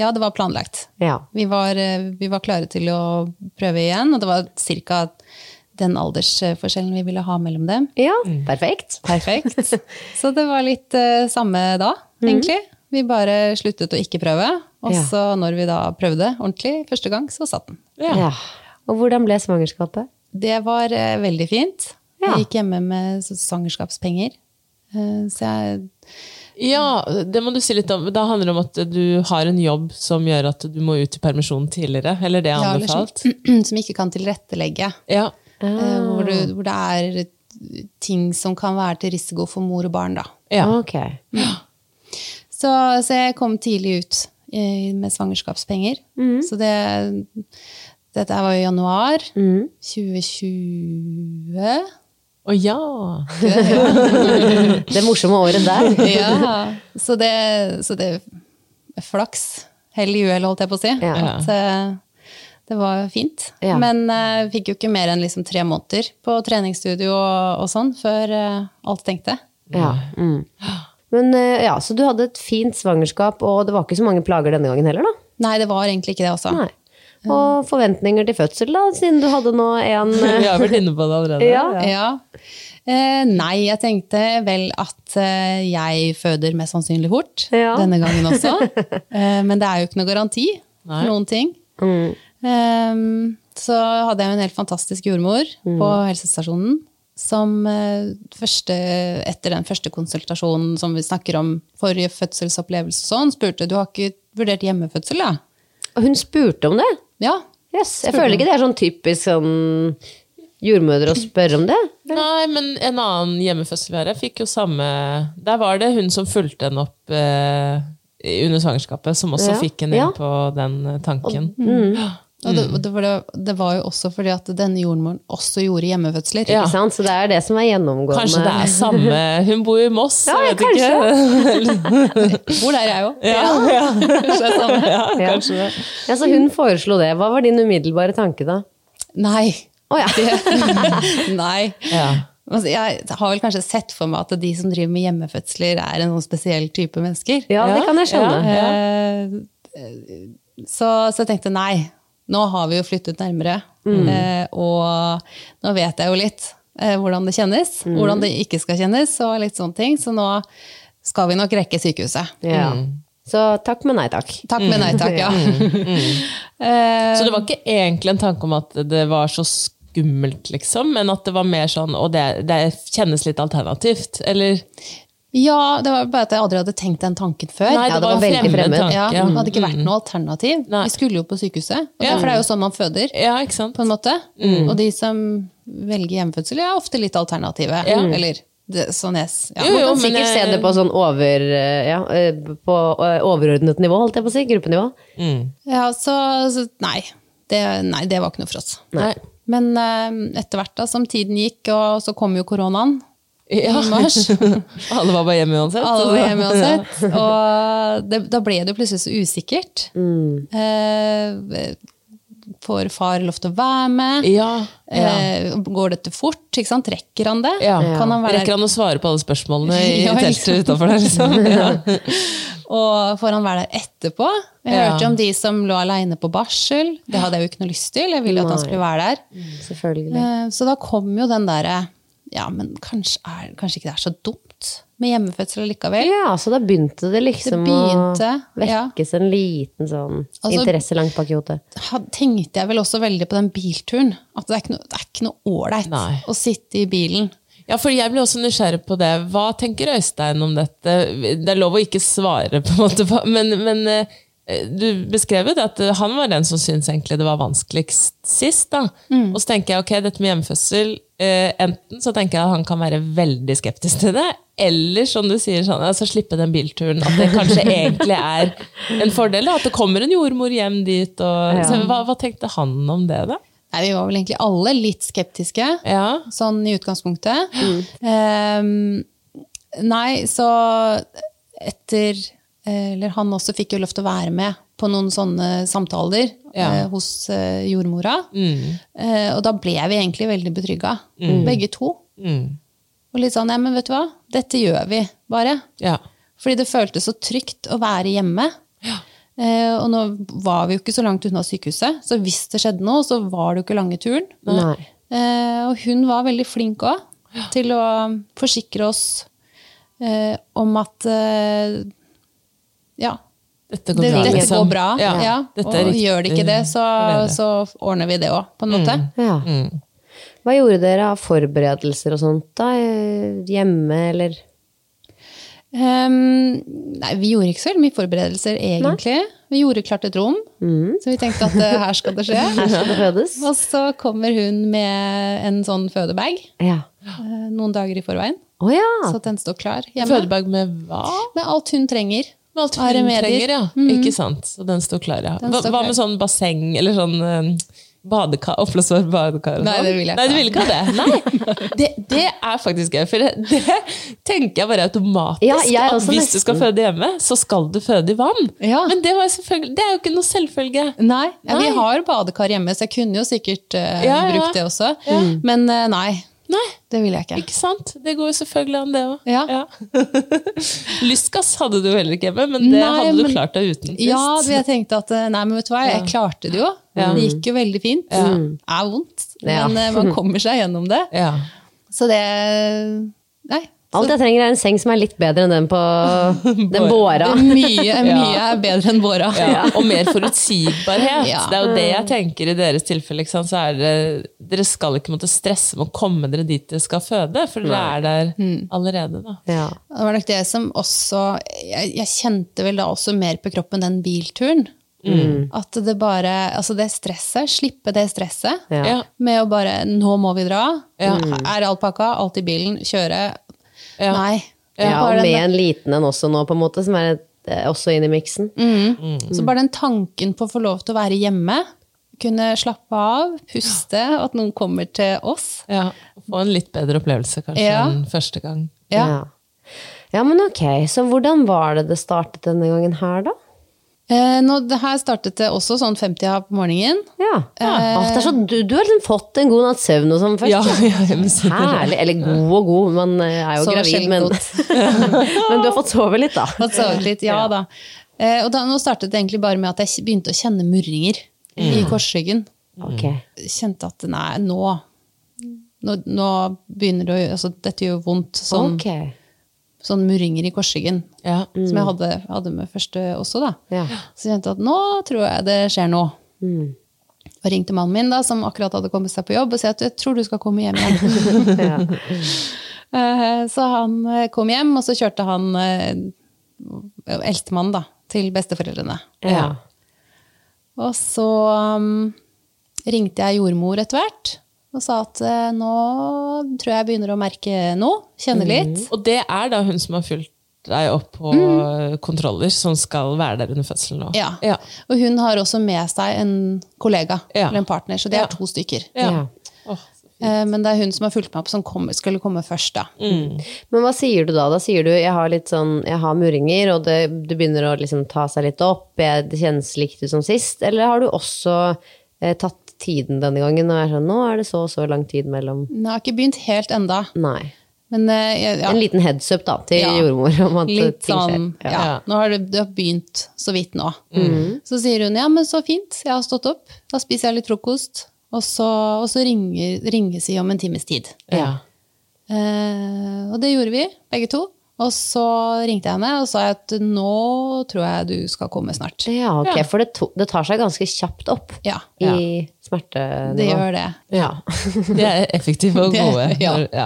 B: ja, det var planlagt. eh,
A: Ja.
B: Vi var, vi var klare til å prøve igjen, og det var ca. den aldersforskjellen vi ville ha mellom dem.
A: Ja, Mm. perfekt.
B: Perfekt. Så det var litt eh, samme da, egentlig. Vi bare sluttet å ikke prøve. Og
A: Ja.
B: så når vi da prøvde ordentlig første gang, så satt den.
A: Ja. Og hvordan ble svangerskapet?
B: Det var eh, veldig fint.
A: Ja.
B: Jeg gikk hjemme med så- svangerskapspenger. Eh, så jeg
C: Ja, det må du si litt om. Da handler det om at du har en jobb som gjør at du må ut i permisjon tidligere. Eller det er
B: Ja, eller sånn.
C: anbefalt.
B: som, som ikke kan tilrettelegge.
C: Ja.
B: Eh, hvor,
A: Mm.
B: du, hvor det er ting som kan være til risiko for mor og barn, da.
C: Ja.
B: Mm.
A: Ok.
B: Så, så jeg kom tidlig ut eh, med svangerskapspenger.
A: Mm.
B: Så det Dette her var jo i januar
A: Mm.
B: 2020.
C: Å ja!
A: Det morsomme året der.
B: Ja. Så det, så det Flaks. Hell i uhell, holdt jeg på å si.
A: Ja.
B: At, eh, det var fint.
A: Ja.
B: Men eh, fikk jo ikke mer enn liksom tre måneder på treningsstudio og, og sånn før eh, alt stengte.
A: Ja. Mm. Men eh, ja, Så du hadde et fint svangerskap, og det var ikke så mange plager denne gangen heller, da?
B: Nei, det var egentlig ikke det altså. også.
A: Nei. Og forventninger til fødsel, da, siden du hadde nå en
C: Vi
A: eh,
C: har vært inne på det allerede.
A: Ja.
B: Ja. Eh, nei, jeg tenkte vel at eh, jeg føder mest sannsynlig fort
A: Ja.
B: denne gangen også. eh, men det er jo ikke noe garanti
C: Nei.
B: for noen ting.
A: Mm.
B: Eh, så hadde jeg jo en helt fantastisk jordmor
A: Mm.
B: på helsestasjonen. Som eh, første, etter den første konsultasjonen som vi snakker om, forrige fødselsopplevelse og sånn, spurte du har ikke vurdert hjemmefødsel, da?
A: Og hun spurte om det.
B: Ja.
A: Yes, jeg føler ikke det er sånn typisk sånn jordmødre å spørre om det.
C: Nei, men en annen hjemmefødsel vi har, jeg fikk jo samme Der var det hun som fulgte henne opp eh, under svangerskapet, som også
A: Ja.
C: fikk henne
A: Ja. Mm.
C: inn på den eh, tanken.
B: Og det, og det, var, det var jo også fordi at denne jordmoren også gjorde hjemmefødsler.
C: Ja.
A: Ikke sant? Så det er det som er gjennomgående.
C: Kanskje det er samme Hun bor jo i Moss,
A: Ja,
C: jeg vet
B: Bor der, jeg òg.
C: ikke. Ja, ja.
B: Kanskje det er samme.
A: Ja. Ja, så hun foreslo det. Hva var din umiddelbare tanke da?
B: Nei.
A: Å ja.
B: Det- Nei.
C: Ja.
B: Altså, jeg har vel kanskje sett for meg at de som driver med hjemmefødsler, er en sånn spesiell type mennesker.
A: ja, det kan jeg skjønne.
B: Eh, Så, så jeg tenkte nei, nå har vi jo flyttet nærmere.
C: Mm.
B: Eh, og nå vet jeg jo litt eh, hvordan det kjennes,
C: Mm.
B: hvordan det ikke skal kjennes, og litt sånne ting. Så nå skal vi nok rekke sykehuset.
A: Ja.
C: Mm.
A: Så takk, men nei takk.
B: Takk, men nei takk, ja. Eh,
C: Så det var ikke egentlig en tanke om at det var så skummelt, liksom, men at det var mer sånn Og det, det kjennes litt alternativt, eller?
B: Ja, det var bare at jeg aldri hadde tenkt den tanken før.
C: Nei,
A: Ja,
C: det
A: det
C: var
A: var
C: en
A: veldig
C: fremmed,
A: fremmed.
C: tanke.
B: ja,
C: Ja.
B: det hadde ikke vært noe alternativ.
C: Nei.
B: Vi skulle jo på sykehuset. Og
C: Ja. Mm.
B: Derfor er det jo sånn man føder,
C: ja, ikke sant?
B: på en måte. Og de som velger hjemmefødsel, er ofte litt alternative. Mm. Eller det, sånn jeg s- ja.
C: Jo,
A: Man
C: jo,
A: kan
C: men,
A: sikkert se
C: eh,
A: det på sånn over, eh, ja, eh, på eh, overordnet nivå, holdt jeg på å si. Gruppenivå.
B: ja, så, så nei. Det, nei, det var ikke noe for oss.
C: Nei.
B: Men eh, etter hvert da, som tiden gikk, og så kom jo koronaen.
C: Ja. Alle var bare hjemme uansett.
B: Alle var hjemme uansett. Og det, da ble det jo plutselig så usikkert.
C: Mm.
B: Eh, får far lov til å være med?
C: Ja. ja.
B: Eh, går dette fort? Ikke sant? Rekker han det?
C: Ja.
B: Kan han være,
C: Rekker han å svare på alle spørsmålene i
B: Ja,
C: teltet
B: liksom.
C: utenfor der? Liksom? Ja.
B: Og får han være der etterpå? Jeg
C: Ja.
B: hørte jo om de som lå aleine på barsel. Det hadde jeg jo ikke noe lyst til. Jeg ville jo at han skulle være der.
A: Selvfølgelig.
C: Mm.
B: Eh, så da kom jo den derre Ja, men kanskje, er, kanskje ikke det er så dumt med hjemmefødsel likevel?
A: Ja, så da begynte det liksom
B: Det begynte,
A: å
B: ja.
A: vekkes en liten sånn
B: Altså-
A: interesse langt bak i hodet.
B: had- tenkte jeg vel også veldig på den bilturen. At det er ikke noe- det er ikke noe ålreit
C: Nei.
B: å sitte i bilen.
C: Ja, for jeg ble også nysgjerrig på det. Hva tenker Øystein om dette? Det er lov å ikke svare, på en måte, men, men eh, du beskrev jo det at han var den som syntes egentlig det var vanskeligst sist. da. Og så tenker jeg ok, dette med hjemmefødsel eh, Enten så tenker jeg at han kan være veldig skeptisk til det, eller som du sier, sånn, altså slippe den bilturen. At det kanskje egentlig er en fordel. da, At det kommer en jordmor hjem dit. Og, så, hva, hva tenkte han om det, da?
B: Nei, vi var vel egentlig alle litt skeptiske,
C: Ja.
B: sånn i utgangspunktet. Ehm, nei, så etter Eller han også fikk jo lov til å være med på noen sånne samtaler
C: Ja.
B: eh, hos eh, jordmora. Eh, og da ble vi egentlig veldig betrygga, begge to.
C: Mm,
B: Og litt sånn, ja, men vet du hva? Dette gjør vi bare.
C: ja.
B: Fordi det føltes så trygt å være hjemme. Eh, og nå var vi jo ikke så langt unna sykehuset, så hvis det skjedde noe, så var det jo ikke lange turen.
A: Nei.
B: Eh, og hun var veldig flink òg til å forsikre oss eh, om at eh, Ja,
C: Dette
B: det,
C: bra,
B: dette
C: liksom.
B: går bra. Ja,
C: dette er
B: og
C: riktig.
B: gjør det ikke det, så, så ordner vi det òg, på en måte.
A: Ja. Hva gjorde dere av forberedelser og sånt da? Eh, Hjemme, eller?
B: Ehm, nei, vi gjorde ikke så veldig mye forberedelser, egentlig. Vi gjorde klart et rom,
C: Mm.
B: så vi tenkte at eh, her skal det
A: Her
B: skje.
A: skal det fødes?
B: Og så kommer hun med en sånn fødebag
A: Ja.
B: eh, noen dager i forveien.
A: Å ja!
B: Så at den står klar hjemme.
C: Fødebag med hva?
B: Med alt hun trenger. Med alt
C: Hun trenger, ja. Ikke sant? Så den står klar, ja.
B: Mm. Den
C: Hva,
B: står
C: hva
B: klar.
C: med sånn basseng, eller sånn um, badekar, oppblåsbar badekar? og
B: Nei,
C: sånn?
B: det vil jeg ikke
C: Nei, du
B: ha.
C: vil ikke ha det? Nei, det, det er faktisk gøy, for det, det tenker jeg bare automatisk.
A: Ja, jeg
C: at
A: også
C: hvis
A: nesten.
C: du skal føde hjemme, så skal du føde i vann.
B: Ja.
C: Men det, var jo selvfølgelig, det er jo ikke noe selvfølge.
B: Nei, ja,
C: Nei.
B: vi har badekar hjemme, så jeg kunne jo sikkert eh,
C: Ja, ja.
B: brukt det også. Men eh, nei,
C: Nei,
B: det vil jeg ikke.
C: ikke sant? Det går jo selvfølgelig an, det òg.
B: Ja.
C: Lystgass hadde du heller ikke hjemme, men det
B: Nei,
C: hadde du
B: men-
C: klart deg uten først.
B: Ja, du, jeg tenkte at eh, nei, men vet du hva, jeg klarte det jo. Det gikk jo veldig fint. Mm. Det er vondt,
A: Ja.
B: men eh, man kommer seg gjennom det.
C: Ja.
B: Så det Nei.
A: Alt jeg trenger, er en seng som er litt bedre enn den på den båra.
B: Mye, mye er bedre enn våra.
C: Ja, og mer forutsigbarhet.
B: Ja.
C: Det er jo det jeg tenker i deres tilfelle. Ikke sant? Så er det, dere skal ikke måtte stresse med å komme dere dit dere skal føde, for dere er der
B: Mm.
C: allerede. Da.
A: Ja.
B: Det var nok det som også jeg, jeg kjente vel da også mer på kroppen den bilturen.
C: Mm.
B: At det bare Altså det stresset. Slippe det stresset.
A: Ja.
C: Ja.
B: Med å bare 'Nå må vi dra'. Mm. Er alt pakka? Alt i bilen? Kjøre?
C: Ja.
B: Nei.
A: Ja,
B: Bare
A: og med
B: den,
A: en liten en også nå, på en måte, som er eh, også inn i miksen.
B: Mm.
A: Mm.
B: så bare den tanken på å få lov til å være hjemme, kunne slappe av, puste, og at noen kommer til oss.
C: Ja, og få en litt bedre opplevelse kanskje
B: Ja.
C: enn første gang.
B: Ja.
A: Ja. ja, men ok. Så hvordan var det det startet denne gangen her, da?
B: Eh, nå, det her startet det også sånn 50-a på morgenen.
A: Ja.
B: Eh.
A: Åh, det er så, du, du har liksom fått en god natts søvn og sånn først.
C: Ja, ja, jeg må si det.
A: Herlig. Eller god og god, man eh, er jo
B: Sover
A: gravid,
B: sjelden
A: men, men du har fått sove litt, da.
B: Fått sovet litt, ja da. Eh, og da, nå startet det egentlig bare med at jeg begynte å kjenne murringer
A: Mm.
B: i korsryggen.
A: Ok.
B: Kjente at nei, nå, nå, nå begynner det å altså, Dette gjør vondt. Sånn,
A: Ok.
B: sånn murringer i korsryggen.
C: Ja.
B: Som jeg hadde, hadde med første også, da.
A: Mm. Ja. Mm.
B: Så jeg kjente at nå tror jeg det skjer noe. Og ringte mannen min, da, som akkurat hadde kommet seg på jobb, og sa at jeg tror du skal komme hjem igjen.
A: Ja.
B: Eh, Så han eh, kom hjem, og så kjørte han eh, eldstemann da, til besteforeldrene.
A: Ja.
B: Og så um, ringte jeg jordmor etter hvert og sa at eh, nå tror jeg jeg begynner å merke noe, kjenne
A: Mm.
B: litt.
C: Og det er da hun som har fulgt deg opp på kontroller, som skal være der under fødselen nå.
B: Mm. Ja.
C: Ja.
B: Og hun har også med seg en kollega
C: Ja.
B: eller en partner, så det
C: Ja.
B: er to stykker.
C: Ja.
A: Ja.
C: Åh, så fint.
B: Eh, Men det er hun som har fulgt meg opp, som kom, skulle komme først. da.
A: Men hva sier du da? Da sier du jeg har litt sånn, jeg har murringer, og det, det begynner å liksom ta seg litt opp, jeg, det kjennes likt ut som sist. Eller har du også eh, tatt tiden denne gangen og er sånn, nå er det så og så lang tid mellom
B: Nå har jeg ikke begynt helt enda,
A: Nei.
B: men eh, jeg- ja.
A: En liten heads up da, til
B: Ja.
A: jordmor om at
B: Litt
A: ting skjer.
B: sånn, ja. Nå har det, det har begynt så vidt nå. Så sier hun ja, men så fint, jeg har stått opp, da spiser jeg litt frokost. Og så, og så ringer, ringes vi om en times tid.
C: Ja.
B: Eh, og det gjorde vi, begge to. Og så ringte jeg henne og sa at nå tror jeg du skal komme snart.
A: Ja, ok, for det, to, det tar seg ganske kjapt opp
B: Ja,
A: i smertenivå.
B: det gjør det.
A: Ja.
C: De er effektive og gode.
B: Det- ja.
C: Ja.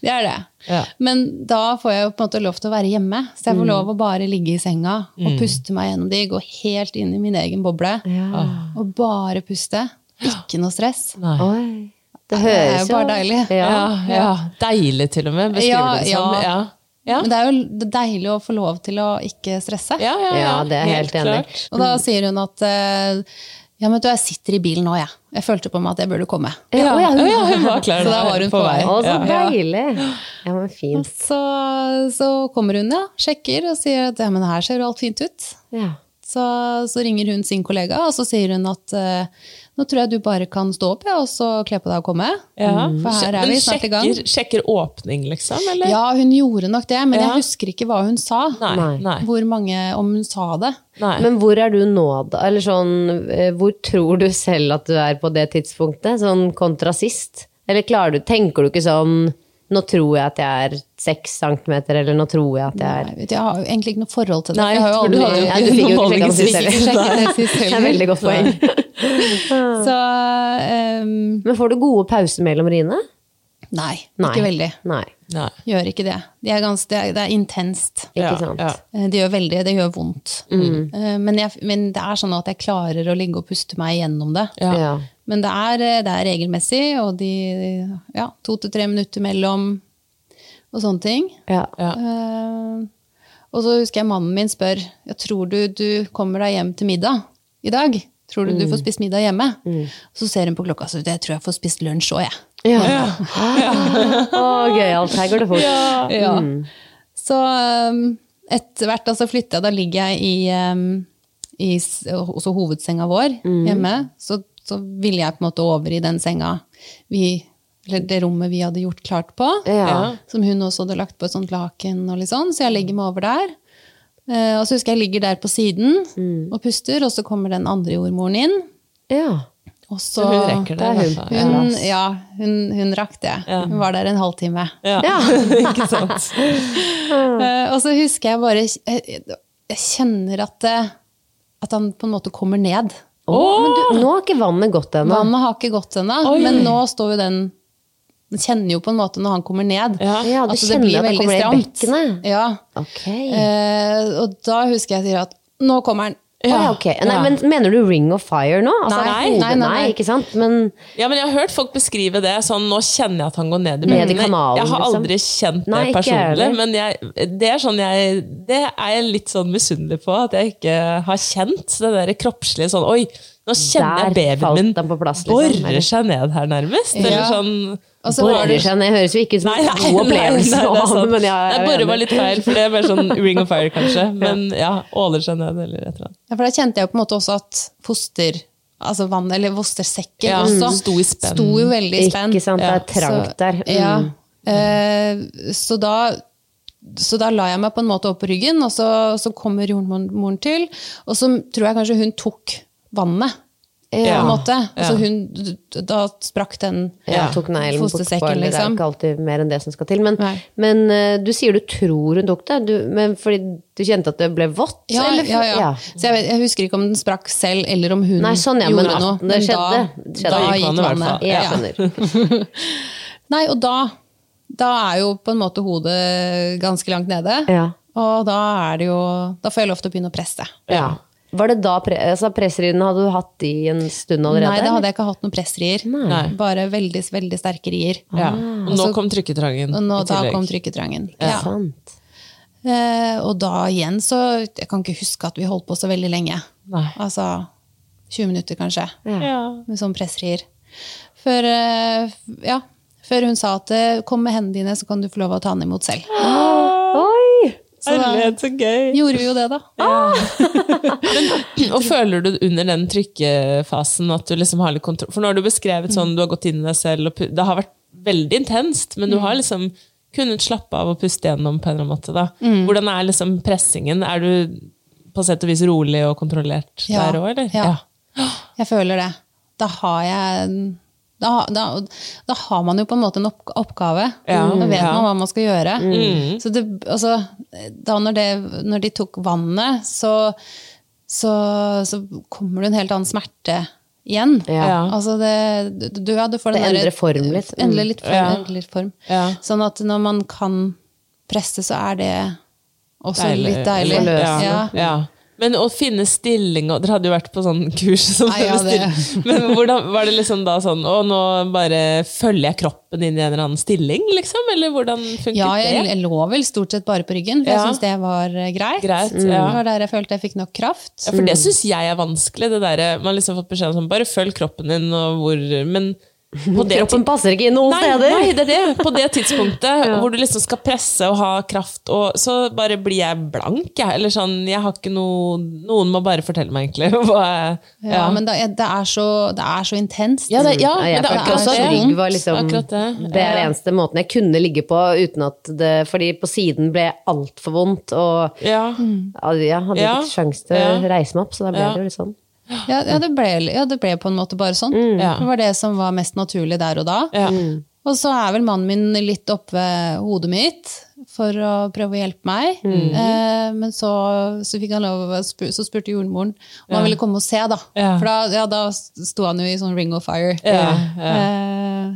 B: Det er det.
C: Ja.
B: Men da får jeg jo på en måte lov til å være hjemme. Så jeg får lov å bare ligge i senga og puste meg gjennom de, gå helt inn i min egen boble. Og bare puste. Ikke noe stress.
A: Oi. Det
B: Det er
A: høres
B: jo bare deilig.
A: Ja.
C: Ja, ja. Deilig til og med, beskriver
B: Ja,
C: du det som.
B: ja.
C: Ja. Ja.
B: Men det er jo deilig å få lov til å ikke stresse.
C: Ja, ja,
A: Ja, det er jeg helt enig i.
C: klart.
B: Og da sier hun at eh, ja, men du, jeg sitter i bilen nå, jeg. Jeg følte på meg at jeg burde komme.
A: Ja, å ja, hun-
C: Å ja, hun var klar
B: Så da var hun på vei.
A: Å, så
C: Ja.
A: deilig. Ja, men fint.
B: Så, så kommer hun, ja, sjekker og sier at ja, men her ser jo alt fint ut.
A: Ja.
B: Så, så ringer hun sin kollega, og så sier hun at eh, nå tror jeg du bare kan stå opp, ja, og så kle på deg og komme.
C: Ja.
B: Mm. For her er
C: Men
B: vi snart i gang.
C: Sjekker, sjekker åpning, liksom? Eller?
B: Ja, hun gjorde nok det, men
C: Ja.
B: jeg husker ikke hva hun sa.
C: Nei. Nei.
B: Hvor mange, om hun sa det.
C: Nei.
A: Men hvor er du nå, da? Eller sånn, eh, hvor tror du selv at du er på det tidspunktet? Sånn kontra sist? Eller klarer du, tenker du ikke sånn Nå tror jeg at jeg er seks centimeter, eller nå tror jeg at jeg er
B: Nei, vet du, jeg har jo egentlig ikke noe forhold til det.
C: Nei,
B: jeg har jo
C: for du
B: aldri-
C: hadde jo
A: Nei, du fikk jo ikke sjekka det sist heller.
B: Sjekket det sist
A: Det er
B: heller.
A: et veldig godt poeng.
B: Så ehm,
A: Men får du gode pauser mellom riene?
B: nei,
A: Nei.
B: ikke veldig.
A: Nei.
C: Nei.
B: Gjør ikke det. De er gans, det, er, det er intenst.
A: Ikke
C: Ja,
A: sant?
C: ja.
B: Eh, Det gjør veldig, det gjør vondt. Eh, Men, jeg, men det er sånn at jeg klarer å ligge og puste meg gjennom det.
C: Ja.
A: Ja.
B: Men det er, eh, det er regelmessig, og de ja, to til tre minutter mellom og sånne ting.
A: Ja.
B: Eh, og så husker jeg mannen min spør jeg tror du du kommer deg hjem til middag i dag. Tror du du får spist middag hjemme? Så ser hun på klokka så jeg tror jeg får spist lunsj òg, jeg.
A: Å, Ah, gøyalt. Her går det fort.
B: Ja. Så um, etter hvert altså, flytta jeg, da ligger jeg i, um, i s- også hovedsenga vår hjemme. Så, så ville jeg på en måte over i den senga vi, eller det rommet vi hadde gjort klart på.
A: Ja.
B: Som hun også hadde lagt på et sånt laken og litt sånn. Så jeg legger meg over der. Eh, og så husker jeg jeg ligger der på siden og puster, og så kommer den andre jordmoren inn.
A: Ja.
B: Og så,
C: Så hun rekker det.
A: er hun.
C: altså.
B: Hun, ja, hun, hun rakk det. Hun var der en halvtime.
C: Ja. ikke sant?
B: Eh, og så husker jeg bare Jeg, jeg kjenner at, det- at han på en måte kommer ned.
A: Å, men du, nå har ikke vannet gått ennå.
B: Vannet har ikke gått ennå,
C: Oi.
B: men nå står jo den Jeg kjenner jo på en måte når han kommer ned.
C: Ja. altså,
A: Ja, du
B: at det
A: kjenner
B: blir
A: at det
B: veldig
A: kommer ned i
B: stramt.
A: bekkenet.
B: Ja.
A: Ok.
B: Eh, og da husker jeg sier at nå kommer han.
A: Å, ja, ok. Nei, men mener du Ring of Fire nå? Altså,
B: Nei,
A: hodet,
B: nei, nei, nei.
A: Ikke sant? Men
C: Ja, men Jeg har hørt folk beskrive det sånn Nå kjenner jeg at han går ned i
A: Ned i
C: bekkene.
A: kanalen,
C: Jeg har
A: liksom.
C: aldri kjent det
A: Nei, ikke jeg
C: personlig,
A: heller.
C: men jeg, det, er sånn jeg, det er jeg litt sånn misunnelig på. At jeg ikke har kjent det der kroppslige sånn Oi, nå kjenner
A: Der
C: jeg
A: falt
C: babyen min
A: den på plass, liksom, eller?
C: borer seg ned her, nærmest. Eller
B: Ja.
C: sånn
B: Og så var
A: borer
B: det,
A: seg ned høres jo ikke ut som
C: Nei,
A: en
C: nei,
A: god opplevelse.
C: nei, nei, det er
A: å ha,
C: sant.
A: men jeg er
C: Nei, borer
A: enig.
C: var litt feil, for det er mer sånn Ring of Fire, kanskje. Men ja, åler seg ned eller et eller annet.
B: ja, for da kjente jeg jo på en måte også at foster... Altså vann, eller fostersekken
C: Ja, Mm.
B: også.
C: sto i spenn.
B: Sto jo veldig i spenn.
A: Ikke sant? Det er trangt der. Mm.
B: Ja. Eh, så, da, så da la jeg meg på en måte opp på ryggen, og så, så kommer jordmoren til. Og så tror jeg kanskje hun tok vannet. På en måte. Altså hun, da sprakk den
A: Ja, tok neglen på Det er
B: fostersekken, liksom.
A: ikke alltid mer enn det som skal til. Men,
B: Nei.
A: men eh, du sier du tror hun tok det, du, men fordi du kjente at det ble vått?
B: Ja,
A: eller,
B: ja, ja.
A: Ja.
B: Så jeg, vet, jeg husker ikke om den sprakk selv, eller om hun
A: Nei, sånn ja, men
B: gjorde
A: at
B: noe.
A: det
B: men
A: skjedde. Det skjedde.
B: Da,
C: Da gikk
B: da gikk
C: vannet i hvert
B: vannet.
A: Jeg
C: fall.
A: skjønner.
B: Nei, og da, da er jo på en måte hodet ganske langt nede.
A: Ja.
B: Og da er det jo Da får jeg lov til å begynne å presse.
A: Ja. Var det da pre altså, pressriden hadde du hatt i en stund allerede?
B: Nei, da
A: eller?
B: hadde jeg ikke hatt noen pressrier.
C: Nei.
B: Bare veldig, veldig sterke rier.
C: Ja. Og nå kom trykketrangen.
B: Og nå,
C: i
B: da
C: tillegg.
B: kom trykketrangen.
A: Ja.
B: Ja.
A: Sant.
B: Eh, og da igjen så Jeg kan ikke huske at vi holdt på så veldig lenge.
C: Nei.
B: Altså 20 minutter, kanskje,
C: Ja.
B: med sånn pressrier. Før, eh, ja, før hun sa at eh, 'kom med hendene dine, så kan du få lov å ta den imot selv'.
A: Oi!
B: Så da
C: Herlighet, så gøy.
B: gjorde vi jo det, da.
C: Og føler du under den trykkefasen at du liksom har litt kontroll? For nå har du beskrevet sånn, du har gått inn i deg selv, og pu- det har vært veldig intenst, men du har liksom kunnet slappe av og puste gjennom på en eller annen måte. Da.
B: Mm.
C: Hvordan er liksom pressingen? Er du på sett og vis rolig og kontrollert
B: Ja,
C: der òg, eller?
B: ja. Jeg føler det. Da har jeg da, da, da har man jo på en måte en opp, oppgave.
C: Ja,
B: da vet
C: ja.
B: man hva man skal gjøre. Så det, altså, da når, det, når de tok vannet, så, så, så kommer det en helt annen smerte igjen.
C: Ja.
B: Altså det, du, ja, du får den
A: Det
B: der-
A: endrer form litt. Mm.
B: Endrer litt form.
C: Ja.
B: Endrer litt form.
C: Ja.
B: Sånn at når man kan presse, så er det også Altså, litt deilig.
C: Ja.
B: Ja.
C: Ja. Men å finne stilling og Dere hadde jo vært på sånn kurs. Som
B: Nei, ja,
C: dere
B: det-
C: still- Men hvordan var det liksom da sånn Å, nå bare følger jeg kroppen inn i en eller annen stilling, liksom? Eller hvordan funket
B: Ja,
C: det?
B: jeg, jeg lå vel stort sett bare på ryggen, for
C: Ja.
B: jeg syns det var eh, greit.
C: Greit,
B: Det
C: ja.
B: var der jeg følte jeg fikk nok kraft.
C: Ja, for
A: Mm.
C: det syns jeg er vanskelig. Det der, man har liksom fått beskjed om sånn, bare følg kroppen din, og hvor Men på det
A: Kroppen
C: ti-
A: passer ikke inn noen
C: Nei,
A: steder.
C: nei, det er det. På det tidspunktet hvor du liksom skal presse og ha kraft, og så bare blir jeg blank, jeg. Eller sånn, jeg har ikke noe Noen må bare fortelle meg, egentlig. Hva jeg,
B: Ja, Men da, det, er så, det er så intenst.
C: Ja, det- ja,
A: Mm. Nei, jeg
C: men det er
A: følte
C: akkurat
A: også at
C: det.
A: rygg var liksom
C: Akkurat
A: det.
C: det.
A: er den eneste måten jeg kunne ligge på uten at det Fordi på siden ble altfor vondt, og
C: Ja.
A: ja, jeg hadde
C: Ja.
A: ikke sjans til å
C: Mm. Ja.
A: reise meg opp, så da ble
C: Ja.
A: det jo litt sånn.
B: Ja, ja, det ble, ja, det ble på en måte bare sånn.
C: Ja.
A: Mm.
B: Det var det som var mest naturlig der og da.
C: Mm. Ja.
B: Og så er vel mannen min litt oppe ved hodet mitt for å prøve å hjelpe meg.
C: Mm.
B: Eh, men så, så fikk han lov å spu- Så spurte jordmoren om han ville komme og se, da.
C: Ja.
B: For da, ja, da sto han jo i sånn ring of fire.
C: Ja,
B: Eh,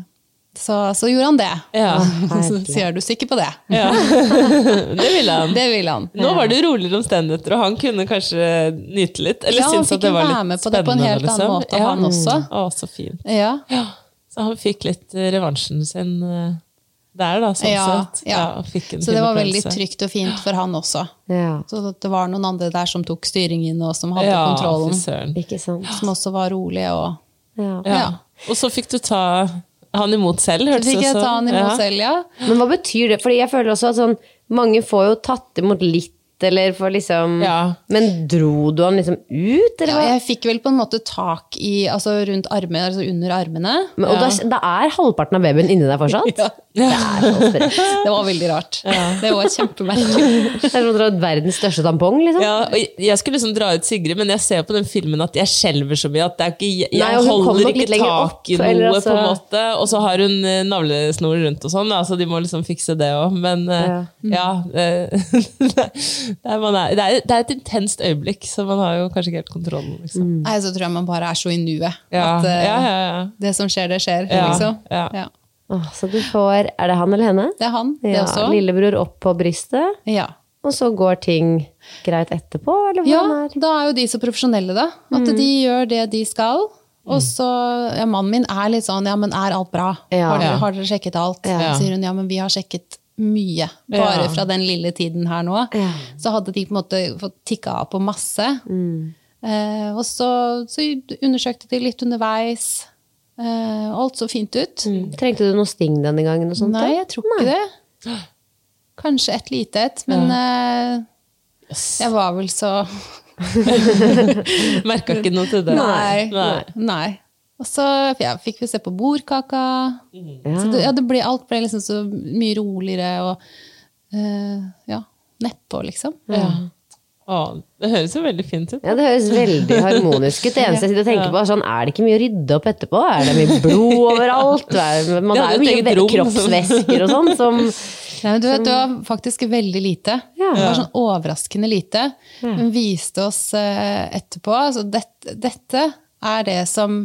B: så, så gjorde han det.
C: Ja.
B: så sier du sikker på det?
C: Ja. Det ville han.
B: Det ville han.
C: Nå var det roligere omstendigheter, og han kunne kanskje nyte litt. Eller
B: Ja, han
C: synes
B: fikk
C: at det
B: jo
C: var litt
B: være med på det på en helt annen
C: spennende, liksom.
B: måte, han også.
C: Å, så fint.
B: Ja.
C: Ja. Så han fikk litt eh, revansjen sin eh, der, da, sånn
B: Ja,
C: sett.
B: ja.
C: og fikk en
B: Så det
C: fin
B: var veldig
C: opplevelse.
B: trygt og fint for han også.
A: Ja,
B: Så at det var noen andre der som tok styringen, og som hadde
C: ja,
B: kontrollen.
C: fy søren.
A: ikke sant.
B: Som også var rolige og
A: Ja.
C: Ja. Og så fikk du ta han imot selv,
B: Så
C: hørtes
B: fikk
C: det
B: jeg
C: som.
B: ta han imot selv, ja.
A: Men hva betyr det? Fordi jeg føler også at sånn, mange får jo tatt imot litt, eller får liksom
C: Ja.
A: Men dro du han liksom ut, eller
B: Ja,
A: hva?
B: Jeg fikk vel på en måte tak i Altså rundt armene, altså under armene.
A: Men, og da, da er halvparten av babyen inni deg fortsatt? Det er så sprøtt.
B: Det var veldig rart. Det var kjempemerkelig.
A: Det er som å dra ut verdens største tampong, liksom.
C: Ja, og jeg- jeg skulle liksom dra ut Sigrid, men jeg ser på den filmen at jeg skjelver så mye at det er ikke, jeg
A: Nei, og hun kom
C: holder
A: nok litt
C: ikke
A: lenger
C: tak
A: opp,
C: i
A: eller
C: noe,
A: altså-
C: på en måte. Og så har hun eh, navlesnor rundt og sånn, da, så de må liksom fikse det òg. Men eh, ja, eh, det, er man er, det, er, det er et intenst øyeblikk, så man har jo kanskje ikke helt kontrollen, liksom.
A: Mm.
B: Nei, så tror jeg man bare er så i nuet.
C: Ja,
B: At eh,
C: ja, ja, ja.
B: det som skjer, det skjer.
C: Ja,
B: Liksom.
C: ja.
B: Ja.
A: Åh, så du får Er det han eller henne?
B: Det er han, det
A: ja,
B: også.
A: Lillebror opp på brystet,
B: Ja.
A: og så går ting greit etterpå, eller
B: Ja,
A: hvordan er
B: da er jo de så profesjonelle, da. At de gjør det de skal. Og så, ja, Mannen min er litt sånn 'ja, men er alt bra'?
A: Ja.
B: Har, dere,
C: Ja.
B: har dere sjekket alt?
C: Ja.
B: Så sier hun 'ja, men vi har sjekket mye'. Bare
C: Ja.
B: fra den lille tiden her nå. Så hadde de på en måte fått tikka av på masse. Eh, og så, så undersøkte de litt underveis. Eh, alt så fint ut.
A: Trengte du noe sting denne gangen? Og sånt, da?
B: Nei, jeg tror ikke det. Kanskje et lite et, men eh, jeg var vel så
C: Merka ikke noe til det.
B: Nei.
C: Nei.
B: Nei. Og så f- ja, fikk vi se på bordkaka. Så det, ja, det ble, alt ble liksom så mye roligere og eh, ja, nedpå, liksom. Ja.
C: Å, det høres jo veldig fint ut.
A: Ja, Det høres veldig harmonisk ut. Det eneste jeg sitter og tenker på, er sånn, er det ikke mye å rydde opp etterpå? Er det mye blod overalt? Er- Man
C: Ja,
A: er jo
C: det
A: mye
C: er et
A: ve-
C: rom.
A: kroppsvæsker og sånn som
B: Nei, men du vet, det var faktisk veldig lite.
A: Ja.
B: Det var sånn overraskende lite. Hun viste oss eh, etterpå. Altså, dette, dette er det som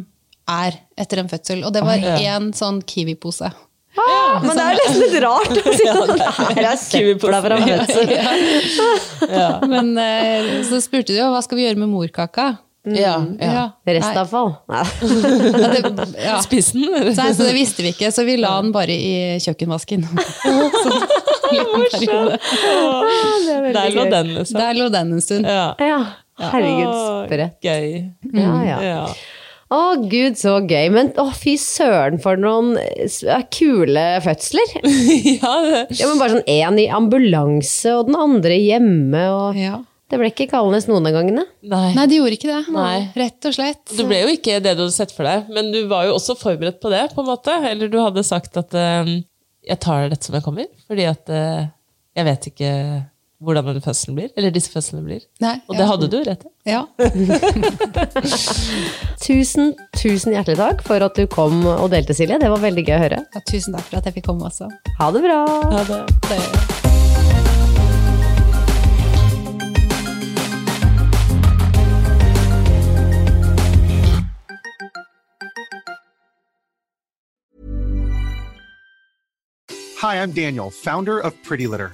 B: er etter en fødsel. Og det var én sånn Kiwi-pose.
A: ah, Men det er nesten litt rart å si sånn. Her er søpla fra fødsel.
B: Men eh, så spurte de jo hva skal vi gjøre med morkaka.
C: Ja, ja.
A: Restavfall. Nei.
B: Ja, det, ja.
C: Spiss den, eller?
B: Nei, så det visste vi ikke, så vi la den bare i kjøkkenvasken. Så, en liten periode.
C: Der lå den, liksom.
B: Der lå den en stund.
C: Ja.
A: Ja, herregud,
C: Å,
A: sprøtt.
C: Gøy.
A: Ja, ja.
C: Ja.
A: Å gud, så gøy. Men å fy søren for noen eh, kule fødsler.
C: ja, det,
A: Ja, men bare sånn én i ambulanse og den andre hjemme og
B: Ja.
A: Det ble ikke Kalnes noen av gangene.
C: nei.
B: Nei, de gjorde ikke det.
C: Nei.
B: Rett og slett.
C: Du ble jo ikke det du hadde sett for deg, men du var jo også forberedt på det, på en måte. Eller du hadde sagt at eh, jeg tar dette som jeg kommer, fordi at eh, jeg vet ikke hvordan denne fødselen blir, eller disse fødslene blir.
B: Nei,
C: Og
B: ja.
C: det hadde du rett i.
B: Ja.
A: Tusen, tusen hjertelig takk for at du kom og delte, Silje. Det var veldig gøy å høre.
B: ja, tusen takk for at jeg fikk komme også.
A: Ha det bra!
C: Ja, det.
B: Det-
E: Hi, I'm Daniel, founder of Pretty Litter.